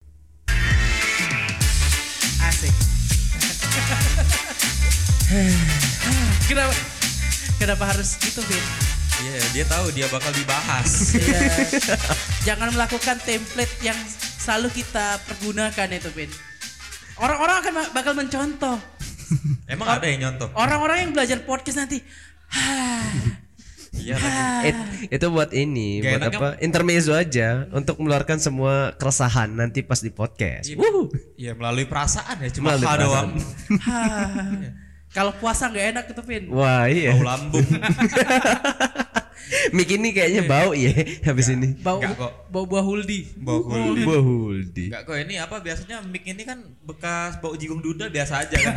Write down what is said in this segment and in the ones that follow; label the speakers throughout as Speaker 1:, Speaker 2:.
Speaker 1: Kenapa? Kenapa harus gitu, itu, Vin?
Speaker 2: Iya, dia tahu dia bakal dibahas.
Speaker 1: Iya. Jangan melakukan template yang selalu kita pergunakan itu, Vin. Orang-orang akan ma- bakal mencontoh.
Speaker 2: Emang ada yang nyontoh?
Speaker 1: Orang-orang yang belajar podcast nanti. "Hah,
Speaker 2: Iya. lagi.
Speaker 1: hah."
Speaker 3: It- itu buat ini,
Speaker 2: Gak
Speaker 3: buat
Speaker 2: enak
Speaker 3: apa? Intermezzo aja untuk meluarkan semua keresahan nanti pas di podcast.
Speaker 2: Iya.
Speaker 3: Wuhu.
Speaker 2: Iya, melalui perasaan ya cuma
Speaker 3: Melalui
Speaker 2: ha
Speaker 3: perasaan.
Speaker 2: doang.
Speaker 1: Hah. Kalau puasa nggak enak gitu, itu, Vin.
Speaker 3: Wah iya.
Speaker 2: Bau lambung.
Speaker 3: Mik ini kayaknya
Speaker 1: Iya.
Speaker 3: bau ya habis ini.
Speaker 1: Bau,
Speaker 2: Nggak kok.
Speaker 1: bau buah huldi.
Speaker 2: Bau kulit.
Speaker 3: Bau huldi.
Speaker 2: Enggak kok ini apa biasanya mic ini kan bekas bau jigung duda biasa aja kan.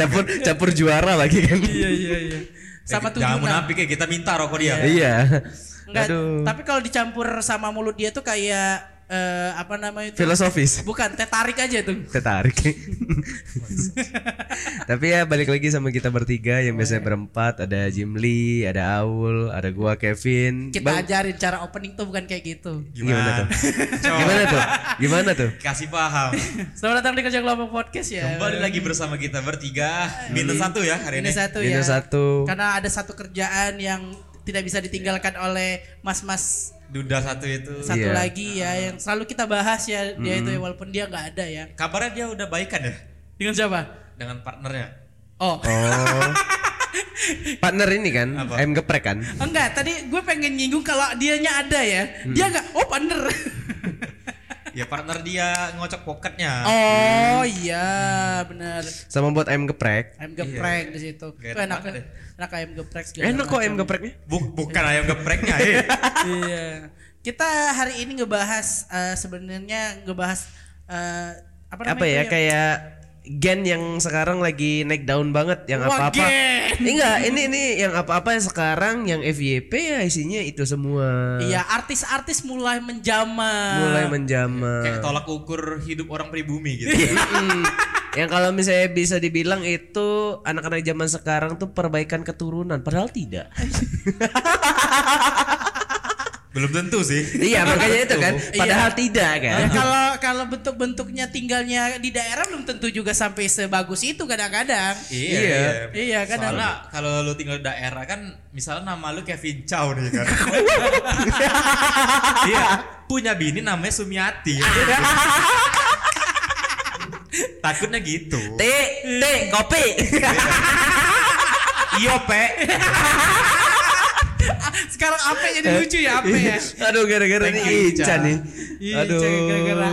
Speaker 3: Campur campur juara lagi kan.
Speaker 1: Iya, iya, iya. Sama
Speaker 2: Eh, Jangan
Speaker 1: tunjukan.
Speaker 2: munafik ya kita minta rokok dia.
Speaker 3: Iya.
Speaker 1: Enggak,
Speaker 3: Aduh.
Speaker 1: tapi kalau dicampur sama mulut dia tuh kayak eh, apa namanya itu?
Speaker 3: Filosofis.
Speaker 1: Bukan, teh tarik aja tuh.
Speaker 3: Tertarik. Tapi ya balik lagi sama kita bertiga yang biasanya berempat ada Jimli, ada Aul, ada gua Kevin.
Speaker 1: Kita
Speaker 3: Bang,
Speaker 1: ajarin cara opening tuh bukan kayak gitu.
Speaker 2: Iya,
Speaker 3: Gimana tuh?
Speaker 2: Coba
Speaker 3: Gimana tuh? Gimana tuh?
Speaker 2: kasih paham.
Speaker 1: Selamat datang di kerja kelompok podcast ya.
Speaker 2: Kembali lagi bersama kita bertiga. Minus satu ya hari ini.
Speaker 1: Minus satu ya.
Speaker 3: Minus satu.
Speaker 1: Karena ada satu kerjaan yang tidak bisa ditinggalkan oleh mas-mas
Speaker 2: Duda satu itu.
Speaker 1: satu
Speaker 3: Iya.
Speaker 1: lagi ya yang selalu kita bahas ya dia itu ya, walaupun dia nggak ada ya.
Speaker 2: Kabarnya dia udah baikan ya
Speaker 1: Dengan siapa?
Speaker 2: dengan partnernya.
Speaker 1: Oh.
Speaker 3: Oh. Partner ini kan ayam geprek kan?
Speaker 1: Enggak, tadi gue pengen nyinggung kalau dianya ada ya.
Speaker 2: Mm.
Speaker 1: Dia enggak, oh bener.
Speaker 2: Ya partner dia ngocok poketnya.
Speaker 1: oh iya, bener.
Speaker 3: Sama buat ayam geprek.
Speaker 1: Ayam geprek di situ.
Speaker 2: Iya. Kayak
Speaker 1: Itu enak, ya.
Speaker 2: tempat deh.
Speaker 1: enak ayam geprek. segala
Speaker 3: Enak kok ayam
Speaker 1: macam.
Speaker 3: gepreknya.
Speaker 2: Bu- bukan ayam gepreknya. eh.
Speaker 1: iya. Kita hari ini ngebahas eh, sebenarnya ngebahas eh, apa namanya?
Speaker 3: Apa ya
Speaker 1: itu
Speaker 3: kayak gen yang sekarang lagi naik daun banget yang
Speaker 1: Wah,
Speaker 3: apa-apa.
Speaker 1: gen.
Speaker 3: Eh, Enggak, ini ini yang apa-apa yang sekarang yang FYP ya isinya itu semua.
Speaker 1: Iya, artis-artis mulai menjama.
Speaker 3: eh,
Speaker 1: Eh,
Speaker 3: Mulai menjama.
Speaker 2: Kayak tolak ukur hidup orang pribumi gitu.
Speaker 1: Ya.
Speaker 3: Mm. yang kalau misalnya bisa dibilang itu anak-anak zaman sekarang tuh perbaikan keturunan padahal tidak.
Speaker 2: Belum tentu sih.
Speaker 3: iya, makanya itu kan.
Speaker 1: Iya.
Speaker 3: Padahal tidak kan.
Speaker 1: Ya, kalau kalau bentuk-bentuknya tinggalnya di daerah belum tentu juga sampai sebagus itu kadang-kadang.
Speaker 2: Iya.
Speaker 3: Iya.
Speaker 1: Iya, kan
Speaker 2: Soalnya kalau lu tinggal di daerah kan misalnya nama lu Kevin Chow nih kan. Iya, punya bini namanya Sumiati. Takutnya gitu.
Speaker 3: T, T, kopi.
Speaker 2: Iya, Pe.
Speaker 1: Sekarang apa jadi lucu ya apa ya?
Speaker 3: Iya. Aduh gara-gara ini Ica nih.
Speaker 1: Aduh.
Speaker 3: Aduh.
Speaker 1: Iya, Gara-gara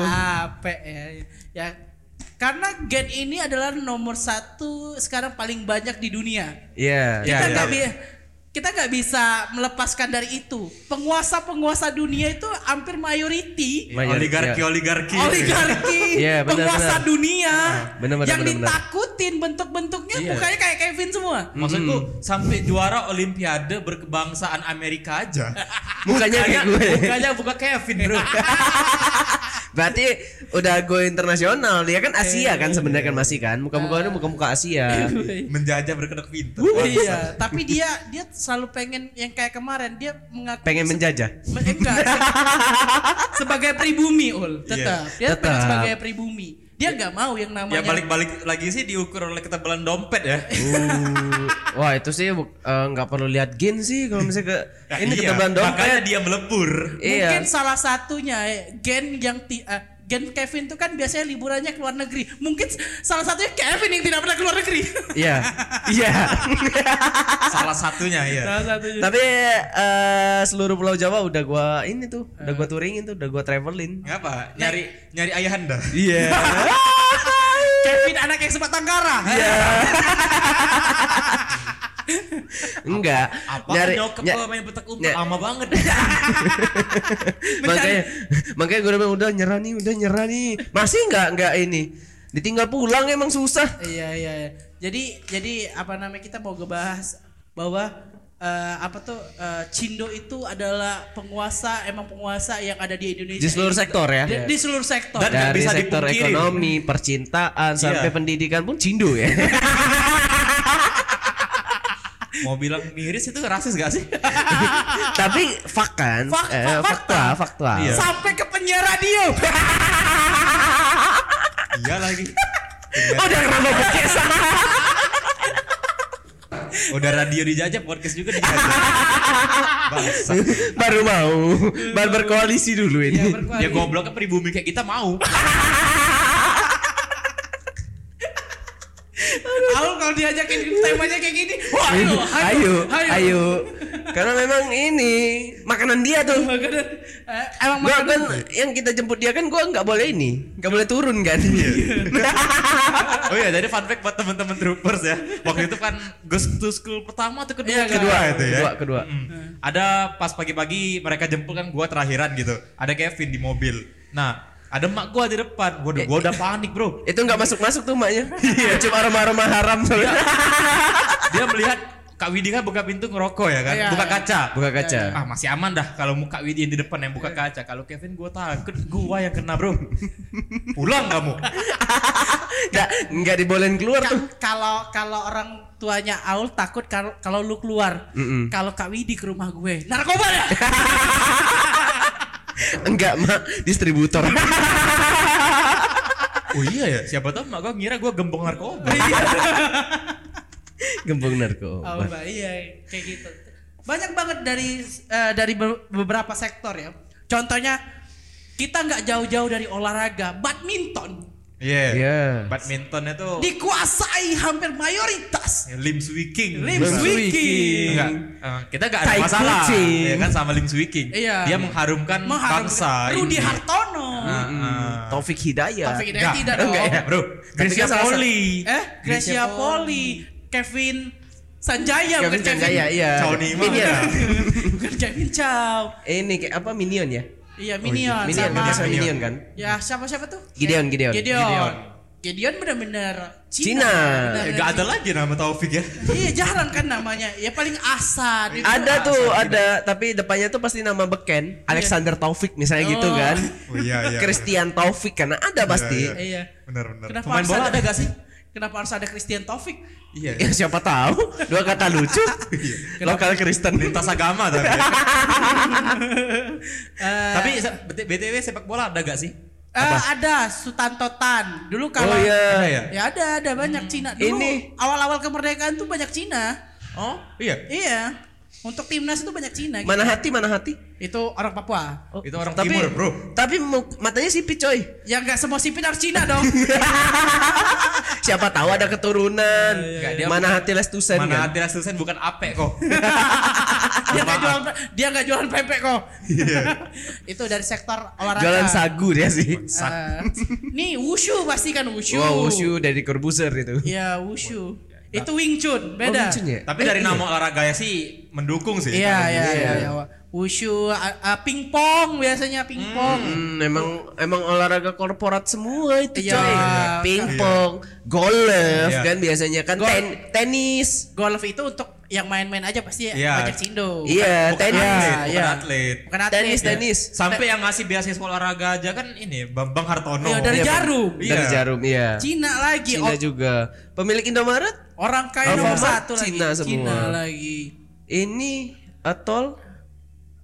Speaker 1: apa ya? Ya karena gen ini adalah nomor satu sekarang paling banyak di dunia.
Speaker 3: Iya.
Speaker 2: Ya,
Speaker 1: Kita
Speaker 2: ya.
Speaker 1: nggak bi- kita nggak bisa melepaskan dari itu. Penguasa-penguasa dunia itu hampir mayoriti.
Speaker 3: Banyak,
Speaker 2: Oligarki,
Speaker 3: iya.
Speaker 2: oligarki.
Speaker 1: Oligarki,
Speaker 3: Iya, benar,
Speaker 1: penguasa
Speaker 3: benar. Nah,
Speaker 1: dunia
Speaker 3: Benar, benar,
Speaker 1: yang
Speaker 3: benar, benar.
Speaker 1: ditakutin bentuk-bentuknya
Speaker 2: Iya.
Speaker 1: mukanya kayak Kevin semua.
Speaker 3: Hmm.
Speaker 2: Maksudku sampai juara Olimpiade berkebangsaan Amerika aja.
Speaker 3: Mukanya kayak gue.
Speaker 2: Mukanya buka Kevin bro.
Speaker 3: Berarti udah go internasional. Dia kan Asia kan sebenarnya kan masih kan. Muka-mukanya muka-muka
Speaker 2: iya.
Speaker 3: Asia.
Speaker 2: Menjajah berkedok pintu.
Speaker 1: iya, tapi dia dia selalu pengen yang kayak kemarin dia mengaku
Speaker 3: Pengen menjajah.
Speaker 1: Me- enggak se- sebagai pribumi ul tetap dia
Speaker 3: Tetap.
Speaker 1: pengen sebagai pribumi dia nggak mau yang namanya
Speaker 2: Iya. Ya balik-balik lagi sih diukur oleh ketebalan dompet ya.
Speaker 3: Uh, wah itu sih bu- eh, nggak perlu lihat gen sih kalau misalnya ke
Speaker 2: Ya
Speaker 3: ini
Speaker 2: iya,
Speaker 3: ketebalan
Speaker 2: Makanya
Speaker 3: dompet.
Speaker 2: dia melebur.
Speaker 3: Iya.
Speaker 1: mungkin salah satunya eh, gen yang ti- eh, gen Kevin tuh kan biasanya liburannya ke luar negeri mungkin s- salah satunya Kevin yang tidak pernah ke luar negeri
Speaker 3: Iya. Iya.
Speaker 2: Salah satunya ya.
Speaker 1: salah satunya
Speaker 3: Tapi eh, seluruh Pulau Jawa udah gua ini tuh, udah gua touringin tuh, udah gua travelin.
Speaker 2: Ngapa? Nyari nyari ayahanda.
Speaker 3: Iya.
Speaker 1: Kevin anak yang sempat tangkara
Speaker 2: Iya.
Speaker 3: Enggak.
Speaker 2: Apa
Speaker 3: Nyari-
Speaker 2: nyokap
Speaker 3: nya-
Speaker 2: main petak umpet
Speaker 3: nya-
Speaker 2: lama banget.
Speaker 3: makanya makanya gue udah bilang udah nyerah nih, udah nyerah nih. Masih enggak enggak ini. Ditinggal pulang emang susah.
Speaker 1: iya iya iya. jadi jadi apa namanya kita mau ngebahas bahwa eh, apa tuh eh, Cindo itu adalah penguasa emang penguasa yang ada di Indonesia
Speaker 3: Di seluruh sektor ya.
Speaker 1: di, di seluruh sektor
Speaker 2: Dan- nggak
Speaker 3: Dari
Speaker 2: bisa
Speaker 3: sektor
Speaker 2: dipungkiri.
Speaker 3: ekonomi, percintaan sampai pendidikan pun cindo ya.
Speaker 2: Mau bilang miris itu rasis gak sih?
Speaker 3: Tapi fak kan?
Speaker 1: Fak-
Speaker 3: Eh,
Speaker 1: fak- fakta.
Speaker 3: fakta, fakta.
Speaker 2: Iya.
Speaker 1: sampai ke penyiar radio
Speaker 2: iya lagi.
Speaker 3: Udah kenapa podcast?
Speaker 2: Udah radio dijajah, podcast juga dijajah. Bangsa.
Speaker 3: baru mau, baru berkoalisi dulu
Speaker 1: Ya,
Speaker 3: ini.
Speaker 1: berkuali-
Speaker 2: Ya gobloknya pribumi kayak kita mau.
Speaker 1: Aul kalau diajakin temanya kayak gini. Wah, ayo,
Speaker 3: ayo, ayo, ayo. Karena memang ini makanan dia tuh.
Speaker 1: Makanan, eh, emang
Speaker 3: Gua
Speaker 1: makanan.
Speaker 3: kan yang kita jemput dia kan gua nggak boleh ini, nggak boleh turun kan.
Speaker 1: Iya.
Speaker 2: Oh iya, jadi fun fact buat teman-teman troopers ya. Waktu itu kan Ghost to School pertama atau
Speaker 1: Iya,
Speaker 2: kedua?
Speaker 3: kedua,
Speaker 2: itu ya.
Speaker 3: kedua, kedua.
Speaker 2: Mm. Ada pas pagi-pagi mereka jemput kan gua terakhiran gitu. Ada Kevin di mobil. Nah, ada mak gua di depan. Gua, udah- gua udah panik, Bro.
Speaker 3: Itu nggak masuk-masuk tuh maknya.
Speaker 1: Iya.
Speaker 3: Cuma aroma-aroma haram soalnya.
Speaker 2: Dia melihat Kak Widi kan buka pintu ngerokok ya kan?
Speaker 1: Iya,
Speaker 2: buka
Speaker 1: iya.
Speaker 2: kaca.
Speaker 3: Buka kaca.
Speaker 2: Ah, masih aman dah kalau muka Widi yang di depan yang buka kaca. Kalau Kevin gua takut gua yang kena, Bro. Pulang kamu.
Speaker 3: Nggak, nggak dibolehin keluar tuh.
Speaker 1: Ka- Kalau kalau orang tuanya Aul takut kalau kalau lu keluar.
Speaker 3: Mm-mm.
Speaker 1: Kalau Kak Widi ke rumah gue, narkoba ya.
Speaker 3: Enggak, Mak, distributor.
Speaker 2: Oh iya ya, siapa tahu mak gua ngira gua gembong narkoba.
Speaker 3: Gembong
Speaker 1: Oh,
Speaker 3: narkoba.
Speaker 1: Mbak, iya kayak gitu. Banyak banget dari eh, dari be- beberapa sektor ya. Contohnya kita nggak jauh-jauh dari olahraga, badminton
Speaker 2: Iya.
Speaker 3: Iya.
Speaker 2: Badmintonnya tuh
Speaker 1: dikuasai hampir mayoritas.
Speaker 2: Ya, Lim Swee King.
Speaker 1: Lim
Speaker 3: Lim Swee
Speaker 1: Swee King.
Speaker 2: Enggak, eh, kita gak ada
Speaker 3: Tai
Speaker 2: masalah
Speaker 3: kucing.
Speaker 2: ya kan sama Lim Swee King.
Speaker 1: Iya.
Speaker 2: Dia mengharumkan,
Speaker 1: Mengharap
Speaker 2: bangsa.
Speaker 1: Rudi
Speaker 2: ini. Nah.
Speaker 1: Hartono.
Speaker 3: Hmm, Taufik Hidayah.
Speaker 1: Taufik Hidayat
Speaker 2: Enggak,
Speaker 1: tidak
Speaker 2: enggak
Speaker 1: dong.
Speaker 2: ya, Bro. Gracia
Speaker 3: kan salah satu-
Speaker 2: Poli.
Speaker 1: Eh, Gracia Poli, Kevin Sanjaya,
Speaker 3: Kevin Sanjaya, iya.
Speaker 2: Cauni mah.
Speaker 3: Minion.
Speaker 1: bukan Kevin Chow.
Speaker 3: Eh, Ini kayak apa Minion ya?
Speaker 1: Iya, Minion,
Speaker 3: Minion,
Speaker 1: sama
Speaker 3: Minion,
Speaker 2: Oh, Minion.
Speaker 3: Minion kan?
Speaker 1: ya siapa-siapa tuh?
Speaker 3: Gideon, Gideon.
Speaker 1: Gideon.
Speaker 2: Gideon.
Speaker 1: Gideon, benar-benar
Speaker 3: Cina.
Speaker 1: Cina.
Speaker 2: Ya,
Speaker 1: Benar-benar
Speaker 2: Enggak ada lagi nama Taufik ya.
Speaker 1: iya jarang kan namanya ya paling Asad itu. Iya.
Speaker 3: Ada tuh, ada tapi depannya tuh pasti nama beken Alexander Taufik misalnya gitu
Speaker 1: Oh.
Speaker 3: kan.
Speaker 2: Oh iya
Speaker 3: Christian Taufik karena ada pasti.
Speaker 1: iya
Speaker 2: Benar benar.
Speaker 1: kenapa
Speaker 2: Pemain
Speaker 1: harus
Speaker 2: bola ada gak sih?
Speaker 1: kenapa harus ada Christian Taufik
Speaker 2: Iya.
Speaker 3: Ya siapa tahu, dua kata lucu. Lokal Kristen.
Speaker 2: Lintas agama tapi. ya.
Speaker 1: Eh,
Speaker 2: tapi se- BT- BTW sepak bola ada gak sih?
Speaker 1: eh, ada Sutanto Tan dulu kalau
Speaker 3: Oh
Speaker 2: Ada
Speaker 3: iya.
Speaker 2: ya?
Speaker 1: ya ada ada banyak Cina dulu
Speaker 3: Ini-
Speaker 1: awal-awal kemerdekaan tuh banyak Cina
Speaker 2: Oh, iya.
Speaker 1: iya untuk timnas itu banyak Cina gitu.
Speaker 3: Mana hati, mana hati?
Speaker 1: itu orang Papua
Speaker 2: Itu orang
Speaker 3: Tapi-
Speaker 2: timur, Bro.
Speaker 3: Tapi mu- matanya sipit coy.
Speaker 1: ya nggak semua sipit harus Cina dong
Speaker 3: Siapa tahu ada keturunan.
Speaker 2: Enggak, dia-
Speaker 3: Mana hati Lestusen
Speaker 2: Iya. Mana
Speaker 3: kan?
Speaker 2: hati Rasulsen bukan ape kok.
Speaker 1: dia nggak jualan dia nggak jualan pempek kok itu dari sektor olahraga
Speaker 3: Iya. Jualan sagu dia sih. Ah.
Speaker 1: Eh, nih wushu pasti kan wushu.
Speaker 3: Wow, Wushu dari Corbuzier itu.
Speaker 1: Ya wushu. Itu Wing Chun,
Speaker 3: Oh,
Speaker 1: beda.
Speaker 3: lucu ya?
Speaker 2: Tapi
Speaker 3: Eh,
Speaker 2: dari
Speaker 3: iya.
Speaker 2: nama olahraganya sih mendukung sih.
Speaker 1: Iya
Speaker 2: Kalau
Speaker 1: iya
Speaker 2: gitu.
Speaker 1: iya. iya. Wushu, a- a- pingpong biasanya pingpong.
Speaker 3: Hmm, emang emang olahraga korporat semua itu
Speaker 1: Iya.
Speaker 3: coy.
Speaker 1: Iya.
Speaker 3: Pingpong, Iya. golf
Speaker 2: Iya.
Speaker 3: kan biasanya kan
Speaker 1: Golf.
Speaker 3: ten- tenis.
Speaker 1: Golf itu untuk yang main-main aja pasti
Speaker 2: Iya.
Speaker 1: banyak cindo.
Speaker 3: Iya,
Speaker 2: Bukan
Speaker 3: tenis.
Speaker 2: atlet,
Speaker 1: Iya,
Speaker 2: bukan
Speaker 1: iya.
Speaker 2: atlet.
Speaker 1: Bukan atlet.
Speaker 3: Tenis,
Speaker 1: ya.
Speaker 3: tenis.
Speaker 2: Sampai yang ngasih beasiswa olahraga aja kan ini Bambang Hartono.
Speaker 1: Iya, dari
Speaker 3: Iya,
Speaker 1: jarum.
Speaker 2: Iya.
Speaker 3: Dari jarum, iya.
Speaker 1: Cina lagi. o-
Speaker 3: Cina juga. Pemilik Indomaret
Speaker 1: Orang kaya nomor
Speaker 3: Alfamart,
Speaker 1: satu
Speaker 3: Cina
Speaker 1: lagi.
Speaker 3: semua.
Speaker 1: Cina lagi.
Speaker 3: ini atol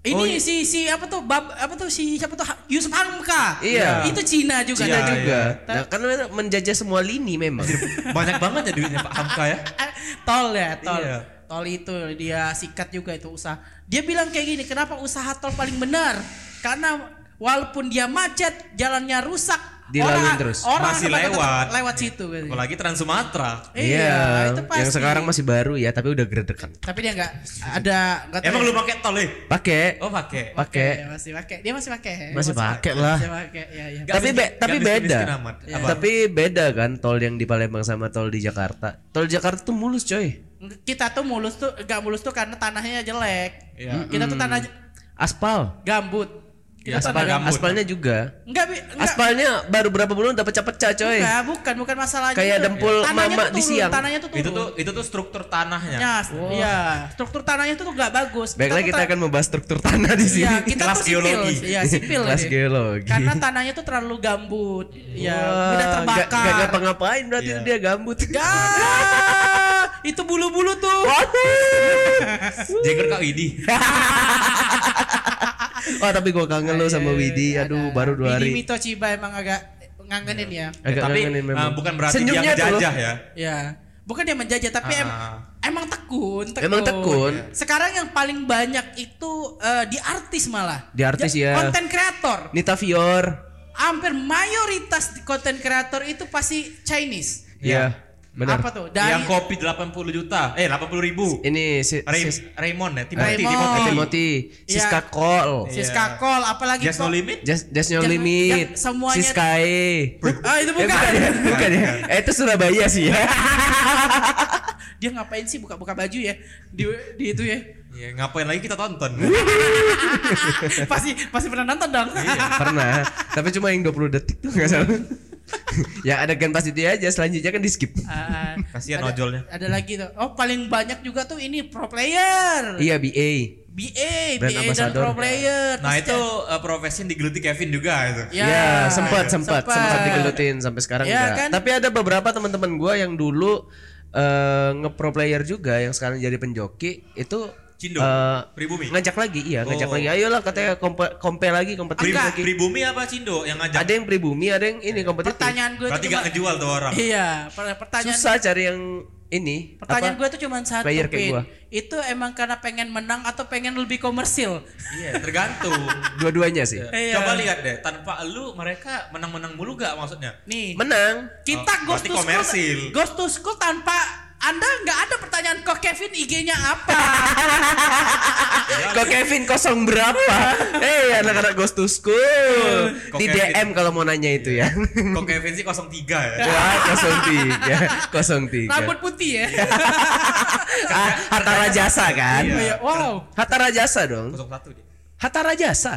Speaker 1: Ini
Speaker 3: Oh, iya.
Speaker 1: si si apa tuh bab apa tuh si siapa tuh Ha- Yusuf Hamka.
Speaker 3: Iya.
Speaker 1: Itu Cina juga.
Speaker 2: Cina
Speaker 1: Nah,
Speaker 2: juga.
Speaker 3: juga. Nah, karena menjajah semua lini memang.
Speaker 2: Iya, Banyak banget ya duitnya Pak Hamka ya.
Speaker 1: Ah, tol ya tol
Speaker 2: Iya.
Speaker 1: tol itu dia sikat juga itu usaha dia bilang kayak gini kenapa usaha tol paling benar karena walaupun dia macet jalannya rusak
Speaker 3: Dilalui
Speaker 1: orang
Speaker 3: terus.
Speaker 1: orang
Speaker 2: Masih
Speaker 1: tetap- tetap
Speaker 2: lewat.
Speaker 1: lewat situ gitu.
Speaker 2: Apalagi Trans Sumatera.
Speaker 1: itu pasti
Speaker 3: Iya, Yang sekarang masih baru ya, tapi udah gredekan.
Speaker 1: tapi dia nggak ada nggak tahu
Speaker 2: Emang
Speaker 1: ya.
Speaker 2: lu pakai tol ya?
Speaker 3: Pakai.
Speaker 2: Oh
Speaker 1: Iya,
Speaker 2: pakai.
Speaker 3: Pakai.
Speaker 1: masih pakai dia masih pakai
Speaker 3: Masih pakai lah.
Speaker 1: masih pakai ya ya
Speaker 2: Gak
Speaker 3: tapi
Speaker 2: miskin-
Speaker 3: be-
Speaker 2: gak
Speaker 3: tapi
Speaker 2: miskin-miskin
Speaker 3: beda.
Speaker 2: amat.
Speaker 1: Iya.
Speaker 2: Apa?
Speaker 3: Tapi beda kan tol yang di Palembang sama tol di Jakarta. Tol Jakarta tuh mulus coy.
Speaker 1: kita tuh mulus tuh nggak mulus tuh karena tanahnya jelek
Speaker 2: Iya.
Speaker 1: kita tuh tanah
Speaker 3: Aspal.
Speaker 1: gambut
Speaker 2: Ya,
Speaker 1: kita
Speaker 2: aspal
Speaker 1: tanah
Speaker 2: gambut.
Speaker 3: Aspalnya juga.
Speaker 1: Enggak, Bi. enggak.
Speaker 3: Aspalnya baru berapa bulan udah pecah-pecah coy.
Speaker 1: Enggak, bukan, bukan masalahnya.
Speaker 3: Kayak
Speaker 1: itu.
Speaker 3: dempul
Speaker 1: Tanahnya
Speaker 3: mama
Speaker 1: tuh
Speaker 3: di
Speaker 1: turun,
Speaker 3: siang.
Speaker 1: Tanahnya tuh turun.
Speaker 2: Itu tuh itu tuh struktur tanahnya.
Speaker 1: Ya, iya. Struktur tanahnya tuh nggak bagus.
Speaker 3: Baiklah
Speaker 1: tuh
Speaker 3: kita
Speaker 1: ta-
Speaker 3: akan membahas struktur tanah di sini.
Speaker 1: Iya, kita
Speaker 2: Kelas
Speaker 1: tuh sipil.
Speaker 2: geologi.
Speaker 1: Iya, sipil.
Speaker 3: Kelas
Speaker 1: ini.
Speaker 3: geologi.
Speaker 1: Karena tanahnya tuh terlalu gambut. Iya,
Speaker 3: Wah,
Speaker 1: mudah
Speaker 3: nggak-
Speaker 1: terbakar.
Speaker 3: nggak ngapa-ngapain berarti
Speaker 2: Iya.
Speaker 3: dia gambut.
Speaker 1: Ah, itu bulu-bulu tuh.
Speaker 2: Jagger Kak Widi.
Speaker 3: Wah tapi gua kangen lo sama Widi.
Speaker 1: Iya,
Speaker 3: Aduh
Speaker 1: ada.
Speaker 3: baru dua
Speaker 1: Widi
Speaker 3: hari.
Speaker 1: Mito Ciba emang agak ngangenin ya.
Speaker 3: Agak
Speaker 2: tapi
Speaker 3: ngangenin memang.
Speaker 2: eh, bukan berarti dia
Speaker 3: Senyumnya tuh loh.
Speaker 2: menjajah ya.
Speaker 1: Ya. Bukan dia menjajah tapi em-
Speaker 2: Ah.
Speaker 1: emang tekun, tekun. Iya.
Speaker 3: Emang tekun.
Speaker 1: Sekarang yang paling banyak itu eh, di artis malah.
Speaker 3: Di artis
Speaker 1: Ja-
Speaker 2: iya.
Speaker 3: ya.
Speaker 1: Konten kreator.
Speaker 3: Nita Fior.
Speaker 1: Hampir mayoritas di konten kreator itu pasti Chinese.
Speaker 3: Iya. Benar.
Speaker 1: Apa tuh? Dari
Speaker 2: Yang kopi 80 juta, eh 80 ribu.
Speaker 3: Ini si,
Speaker 2: Ray,
Speaker 3: si
Speaker 2: Raymond ya, Timothy,
Speaker 1: Raymond.
Speaker 2: Timothy.
Speaker 3: Timothy,
Speaker 1: Iya.
Speaker 3: Siska Kol,
Speaker 1: Siska Kol apalagi
Speaker 2: Iya. Just
Speaker 1: kok-
Speaker 2: no limit.
Speaker 3: Just, Just No
Speaker 1: Jangan-
Speaker 3: Limit,
Speaker 1: jangan- semuanya-
Speaker 3: Siskae.
Speaker 1: Ah itu
Speaker 3: Eh, bukan ya, bukan ya. Eh, itu Surabaya sih ya.
Speaker 1: dia ngapain sih buka-buka baju ya di di itu ya
Speaker 2: Ya, ngapain lagi kita tonton?
Speaker 1: pasti pasti pernah nonton dong
Speaker 3: Iya,
Speaker 2: Iya.
Speaker 3: Pernah, tapi cuma yang 20 detik tuh enggak salah. ya adegan pas itu aja, selanjutnya kan di skip.
Speaker 1: Ah,
Speaker 2: Kasihan
Speaker 1: ada-
Speaker 2: ojolnya.
Speaker 1: ada lagi tuh oh paling banyak juga tuh ini pro player
Speaker 3: Iya, BA.
Speaker 1: BA
Speaker 3: Brand
Speaker 1: BA dan
Speaker 3: ambassador.
Speaker 1: pro player
Speaker 2: Nah
Speaker 1: Terus
Speaker 2: itu eh, profesi yang digeluti Kevin juga itu.
Speaker 1: Ya,
Speaker 3: Ya, sempat
Speaker 1: sempat.
Speaker 3: sempat sempat digelutin sampai sekarang
Speaker 1: Ya,
Speaker 3: enggak.
Speaker 1: kan?
Speaker 3: Tapi ada beberapa teman-teman gua yang dulu eh nge-pro player juga yang sekarang jadi penjoki itu
Speaker 2: Cindo,
Speaker 3: eh,
Speaker 2: pribumi.
Speaker 3: ngajak lagi, iya ngajak lagi. Ayolah katanya kompe, kompe lagi,
Speaker 2: Pri-
Speaker 3: kompetisi
Speaker 1: Enggak.
Speaker 3: lagi.
Speaker 2: pribumi apa Cindo yang ngajak?
Speaker 3: Ada yang pribumi, ada yang ini kompetitif.
Speaker 1: pertanyaan gue
Speaker 2: Berarti
Speaker 1: tuh
Speaker 2: gak
Speaker 1: cuma
Speaker 2: ngejual tuh orang.
Speaker 1: iya per- pertanyaan
Speaker 3: Susah cari yang ini.
Speaker 1: pertanyaan
Speaker 3: apa?
Speaker 1: gue tuh cuma satu
Speaker 3: Player kayak
Speaker 1: Pin.
Speaker 3: gua.
Speaker 1: itu emang karena pengen menang atau pengen lebih komersil
Speaker 2: Iya, tergantung.
Speaker 3: Dua-duanya sih.
Speaker 1: Iya.
Speaker 2: Coba lihat deh, tanpa lu mereka menang-menang mulu gak maksudnya?
Speaker 1: nih
Speaker 3: Menang.
Speaker 1: kita
Speaker 2: Oh,
Speaker 1: ghost
Speaker 2: berarti
Speaker 1: to school
Speaker 2: komersil.
Speaker 1: ghost to school tanpa anda nggak ada pertanyaan kok Kevin IG-nya apa Ah,
Speaker 2: Ya,
Speaker 3: Kok Kevin kosong berapa? Eh anak-anak ghost to school.
Speaker 1: Eh.
Speaker 2: Kok
Speaker 3: Di
Speaker 2: Kevin?
Speaker 3: DM kalau mau nanya itu ya.
Speaker 2: Kok Kevin sih 03 ya?
Speaker 1: Iya.
Speaker 3: Wah, 03. 03.
Speaker 1: rambut putih ya
Speaker 3: Ah, Hatta Rajasa kan?
Speaker 2: Iya.
Speaker 1: Iya, wow
Speaker 3: Hatta Rajasa dong.
Speaker 2: 01 dia.
Speaker 3: Hatta Rajasa.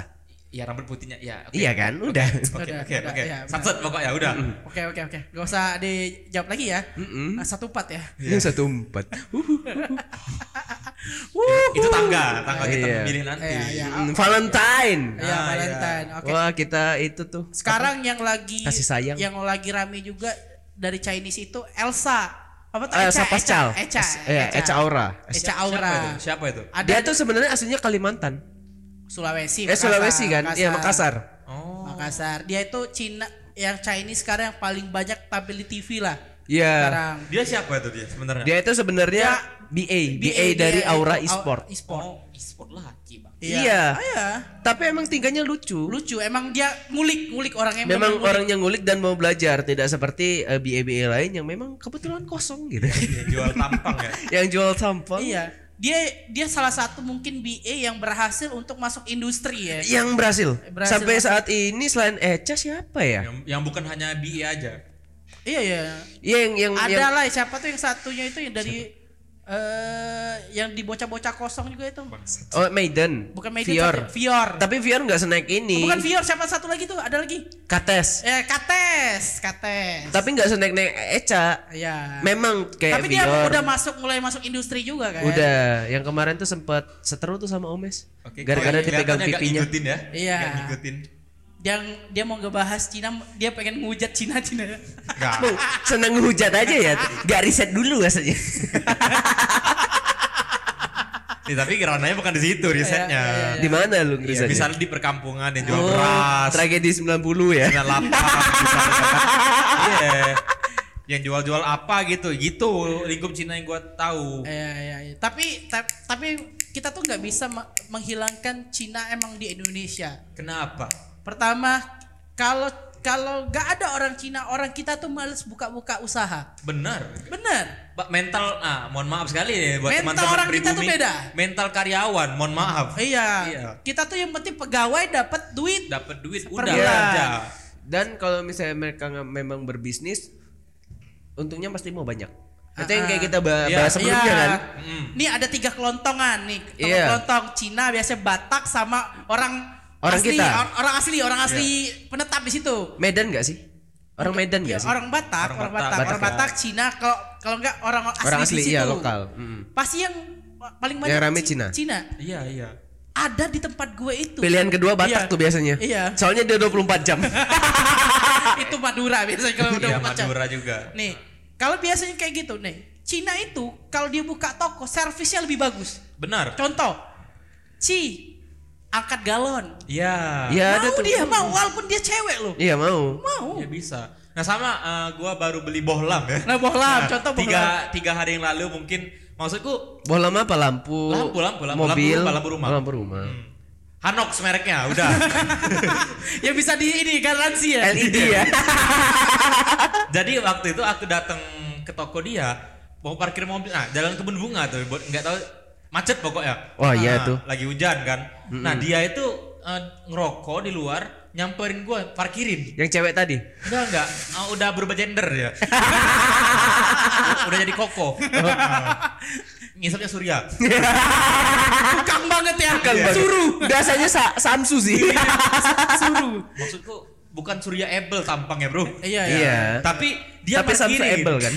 Speaker 2: Iya rambut putihnya, iya. oke.
Speaker 3: Iya kan? Udah.
Speaker 2: Oke,
Speaker 1: Udah,
Speaker 2: oke,
Speaker 1: udah,
Speaker 2: oke.
Speaker 1: iya,
Speaker 2: Satset pokoknya udah.
Speaker 1: oke oke oke gak usah dijawab lagi ya Nah, satu empat ya
Speaker 3: Ini satu empat.
Speaker 2: Itu tangga, tangga kita
Speaker 3: Iya.
Speaker 2: memilih nanti.
Speaker 1: Iya, iya.
Speaker 3: Mm, Valentine.
Speaker 1: ya Valentine oke
Speaker 3: Wah kita itu tuh.
Speaker 1: sekarang yang lagi
Speaker 3: Kasih sayang.
Speaker 1: yang lagi rame juga dari Chinese itu Elsa apa tuh
Speaker 3: Eh, Elsa Pascal.
Speaker 1: Echa
Speaker 3: Es- iya, Echa Aura.
Speaker 1: Echa
Speaker 2: Siapa-
Speaker 1: Aura
Speaker 2: Siapa itu? Siapa itu?
Speaker 1: ada
Speaker 3: Dia tuh sebenarnya aslinya Kalimantan.
Speaker 1: Sulawesi
Speaker 3: Eh Sulawesi kan? Iya Makassar.
Speaker 2: Oh.
Speaker 1: Makassar dia itu Cina yang Chinese sekarang yang paling banyak tampil di TV lah
Speaker 3: Iya.
Speaker 1: sekarang
Speaker 2: Dia siapa itu dia sebenarnya?
Speaker 3: Dia itu sebenarnya
Speaker 1: Ya.
Speaker 3: BA, BA dari
Speaker 1: dia-
Speaker 3: Aura
Speaker 1: Au-
Speaker 3: Esport.
Speaker 1: Esport.
Speaker 2: e-sport laki, Bang.
Speaker 3: Iya.
Speaker 1: Ah, iya.
Speaker 3: Tapi emang tingkahnya lucu.
Speaker 1: Lucu emang dia ngulik ngulik orangnya
Speaker 3: Memang
Speaker 1: ngulik.
Speaker 3: orangnya ngulik dan mau belajar, tidak seperti eh, BA-BA lain yang memang kebetulan kosong gitu.
Speaker 2: Jual tampang ya.
Speaker 3: yang jual sampel.
Speaker 1: Iya. Dia dia salah satu mungkin BA yang berhasil untuk masuk industri ya.
Speaker 3: Yang berhasil.
Speaker 1: Berhasil.
Speaker 3: Sampai saat ini selain Eca siapa ya?
Speaker 2: Yang, yang bukan hanya BI aja.
Speaker 1: Iya iya.
Speaker 3: Iya, Yang yang yang
Speaker 1: Ada lah siapa tuh yang satunya itu yang dari eh yang di bocah-bocah kosong juga itu.
Speaker 3: Oh, Maiden.
Speaker 1: Bukan Maiden,
Speaker 3: Vior.
Speaker 1: tapi Vior. Oh,
Speaker 3: Tapi Vior nggak senaik ini.
Speaker 1: Bukan Vior, siapa satu lagi tuh? Ada lagi.
Speaker 3: Kates.
Speaker 1: Eh Kates, Kates.
Speaker 3: Tapi nggak senaik naik Eca.
Speaker 1: Iya.
Speaker 3: Memang kayak
Speaker 1: Tapi dia
Speaker 3: Vior.
Speaker 1: udah masuk mulai masuk industri juga kan?
Speaker 3: Udah. Yang kemarin tuh sempat seteru tuh sama Omes.
Speaker 2: Oke,
Speaker 3: Gara-gara
Speaker 2: kok
Speaker 3: dipegang
Speaker 2: kelihatannya nggak
Speaker 3: pipinya.
Speaker 2: ngikutin ya.
Speaker 1: Iya.
Speaker 2: Nggak ngikutin.
Speaker 1: Yang dia mau ngebahas Cina, dia pengen ngehujat Cina Cina.
Speaker 2: Nggak.
Speaker 3: Bang, seneng hujat aja ya. Gak riset dulu
Speaker 1: Iya.
Speaker 3: rasanya.
Speaker 2: Ya, tapi ranahnya bukan di
Speaker 1: Iya,
Speaker 2: situ risetnya.
Speaker 3: Di mana lu
Speaker 2: Ya,
Speaker 3: risetnya?
Speaker 2: misalnya di perkampungan yang jual
Speaker 3: Oh,
Speaker 2: beras,
Speaker 3: tragedi 90 ya.
Speaker 2: 98 misalnya. Iya. Yang jual-jual apa gitu. Gitu lingkup Cina yang gua tahu.
Speaker 1: Iya, iya, iya. Tapi ta- tapi kita tuh nggak bisa me- menghilangkan Cina emang di Indonesia.
Speaker 2: Kenapa?
Speaker 1: Pertama, kalau kalau nggak ada orang Cina, orang kita tuh males buka-buka usaha.
Speaker 2: Benar.
Speaker 1: Bener.
Speaker 2: Ba- mental ah mohon maaf sekali nih buat
Speaker 1: Mental
Speaker 2: teman-teman
Speaker 1: orang kita tuh
Speaker 2: pribumi.
Speaker 1: beda.
Speaker 2: mental karyawan mohon maaf
Speaker 1: Iya.
Speaker 2: Iya.
Speaker 1: Kita tuh yang penting pegawai dapat duit.
Speaker 2: dapat duit
Speaker 1: Per bulan.
Speaker 2: udah kerja
Speaker 3: Dan kalau misalnya mereka nge- memang berbisnis, untungnya pasti mau banyak. Itu yang kayak kita bah-
Speaker 2: Iya.
Speaker 3: bahas sebelumnya
Speaker 1: Ah. Iya.
Speaker 3: kan.
Speaker 2: Mm.
Speaker 1: Nih ada tiga kelontongan nih. Kelon-
Speaker 3: Iya.
Speaker 1: Kelontong Cina biasanya Batak sama orang
Speaker 3: Orang
Speaker 1: asli,
Speaker 3: kita.
Speaker 1: or- orang asli, orang asli penetap di situ.
Speaker 3: Medan gak sih? Orang Medan
Speaker 1: Ya,
Speaker 3: gak sih?
Speaker 1: orang Batak,
Speaker 2: Orang
Speaker 1: orang,
Speaker 2: Batak,
Speaker 1: Batak, orang
Speaker 2: Batak,
Speaker 1: Batak, Cina kalau kalau enggak orang asli,
Speaker 3: ya? Orang
Speaker 1: di
Speaker 3: asli,
Speaker 1: situ.
Speaker 3: iya, lokal. Mm.
Speaker 1: Pasti yang paling banyak
Speaker 3: Yang rame
Speaker 1: Ci-
Speaker 3: Cina.
Speaker 1: Cina.
Speaker 2: iya iya
Speaker 1: Ada di tempat gue itu.
Speaker 3: Pilihan kedua Batak
Speaker 1: Iya.
Speaker 3: tuh biasanya.
Speaker 1: Iya.
Speaker 3: Soalnya dia 24 jam.
Speaker 1: itu Madura biasanya kalau udah
Speaker 2: iya
Speaker 1: buka jam.
Speaker 2: Madura juga
Speaker 1: Nih, kalau biasanya kayak gitu nih, Cina itu kalau dia buka toko, servisnya lebih bagus.
Speaker 2: benar
Speaker 1: Contoh, Ci, angkat galon.
Speaker 2: Iya.
Speaker 3: Iya ada
Speaker 1: mau
Speaker 3: tuh.
Speaker 1: dia mau walaupun dia cewek loh.
Speaker 3: Iya mau.
Speaker 1: Mau.
Speaker 2: Iya bisa. Nah sama eh, gua baru beli bohlam ya.
Speaker 1: Oh. Nah, bohlam, contoh
Speaker 2: tiga,
Speaker 1: bohlam.
Speaker 2: Tiga hari yang lalu mungkin maksudku
Speaker 3: Bohlam apa lampu?
Speaker 2: Lampu, lampu, lampu,
Speaker 3: mobil,
Speaker 2: lampu rumah, lampu rumah.
Speaker 3: rumah.
Speaker 2: hmm, Hanox mereknya udah.
Speaker 1: ya bisa di ini garansi ya.
Speaker 3: LED ya.
Speaker 2: Jadi waktu itu aku datang ke toko dia mau parkir mobil. Nah jalan kebun bunga tuh buat nggak tahu macet pokoknya.
Speaker 3: Wah, iya Hmm.
Speaker 2: Nah,
Speaker 3: tuh.
Speaker 2: Lagi hujan kan. Nah dia itu eh, ngerokok di luar nyamperin gua parkirin.
Speaker 3: Yang cewek tadi.
Speaker 2: Enggak enggak, Ah, udah berubah gender ya.
Speaker 3: Iya.
Speaker 2: udah jadi koko. Ngisapnya Surya.
Speaker 1: Tukang banget ya.
Speaker 3: Kan banget.
Speaker 1: Suruh. Iya.
Speaker 3: Biasanya sa- Samsu sih.
Speaker 1: Suruh.
Speaker 2: Maksudku bukan Surya Abel tampangnya, Bro.
Speaker 1: Iya,
Speaker 3: Iya.
Speaker 2: Tapi dia
Speaker 3: Tapi Samsu
Speaker 2: parkirin.
Speaker 3: Abel kan?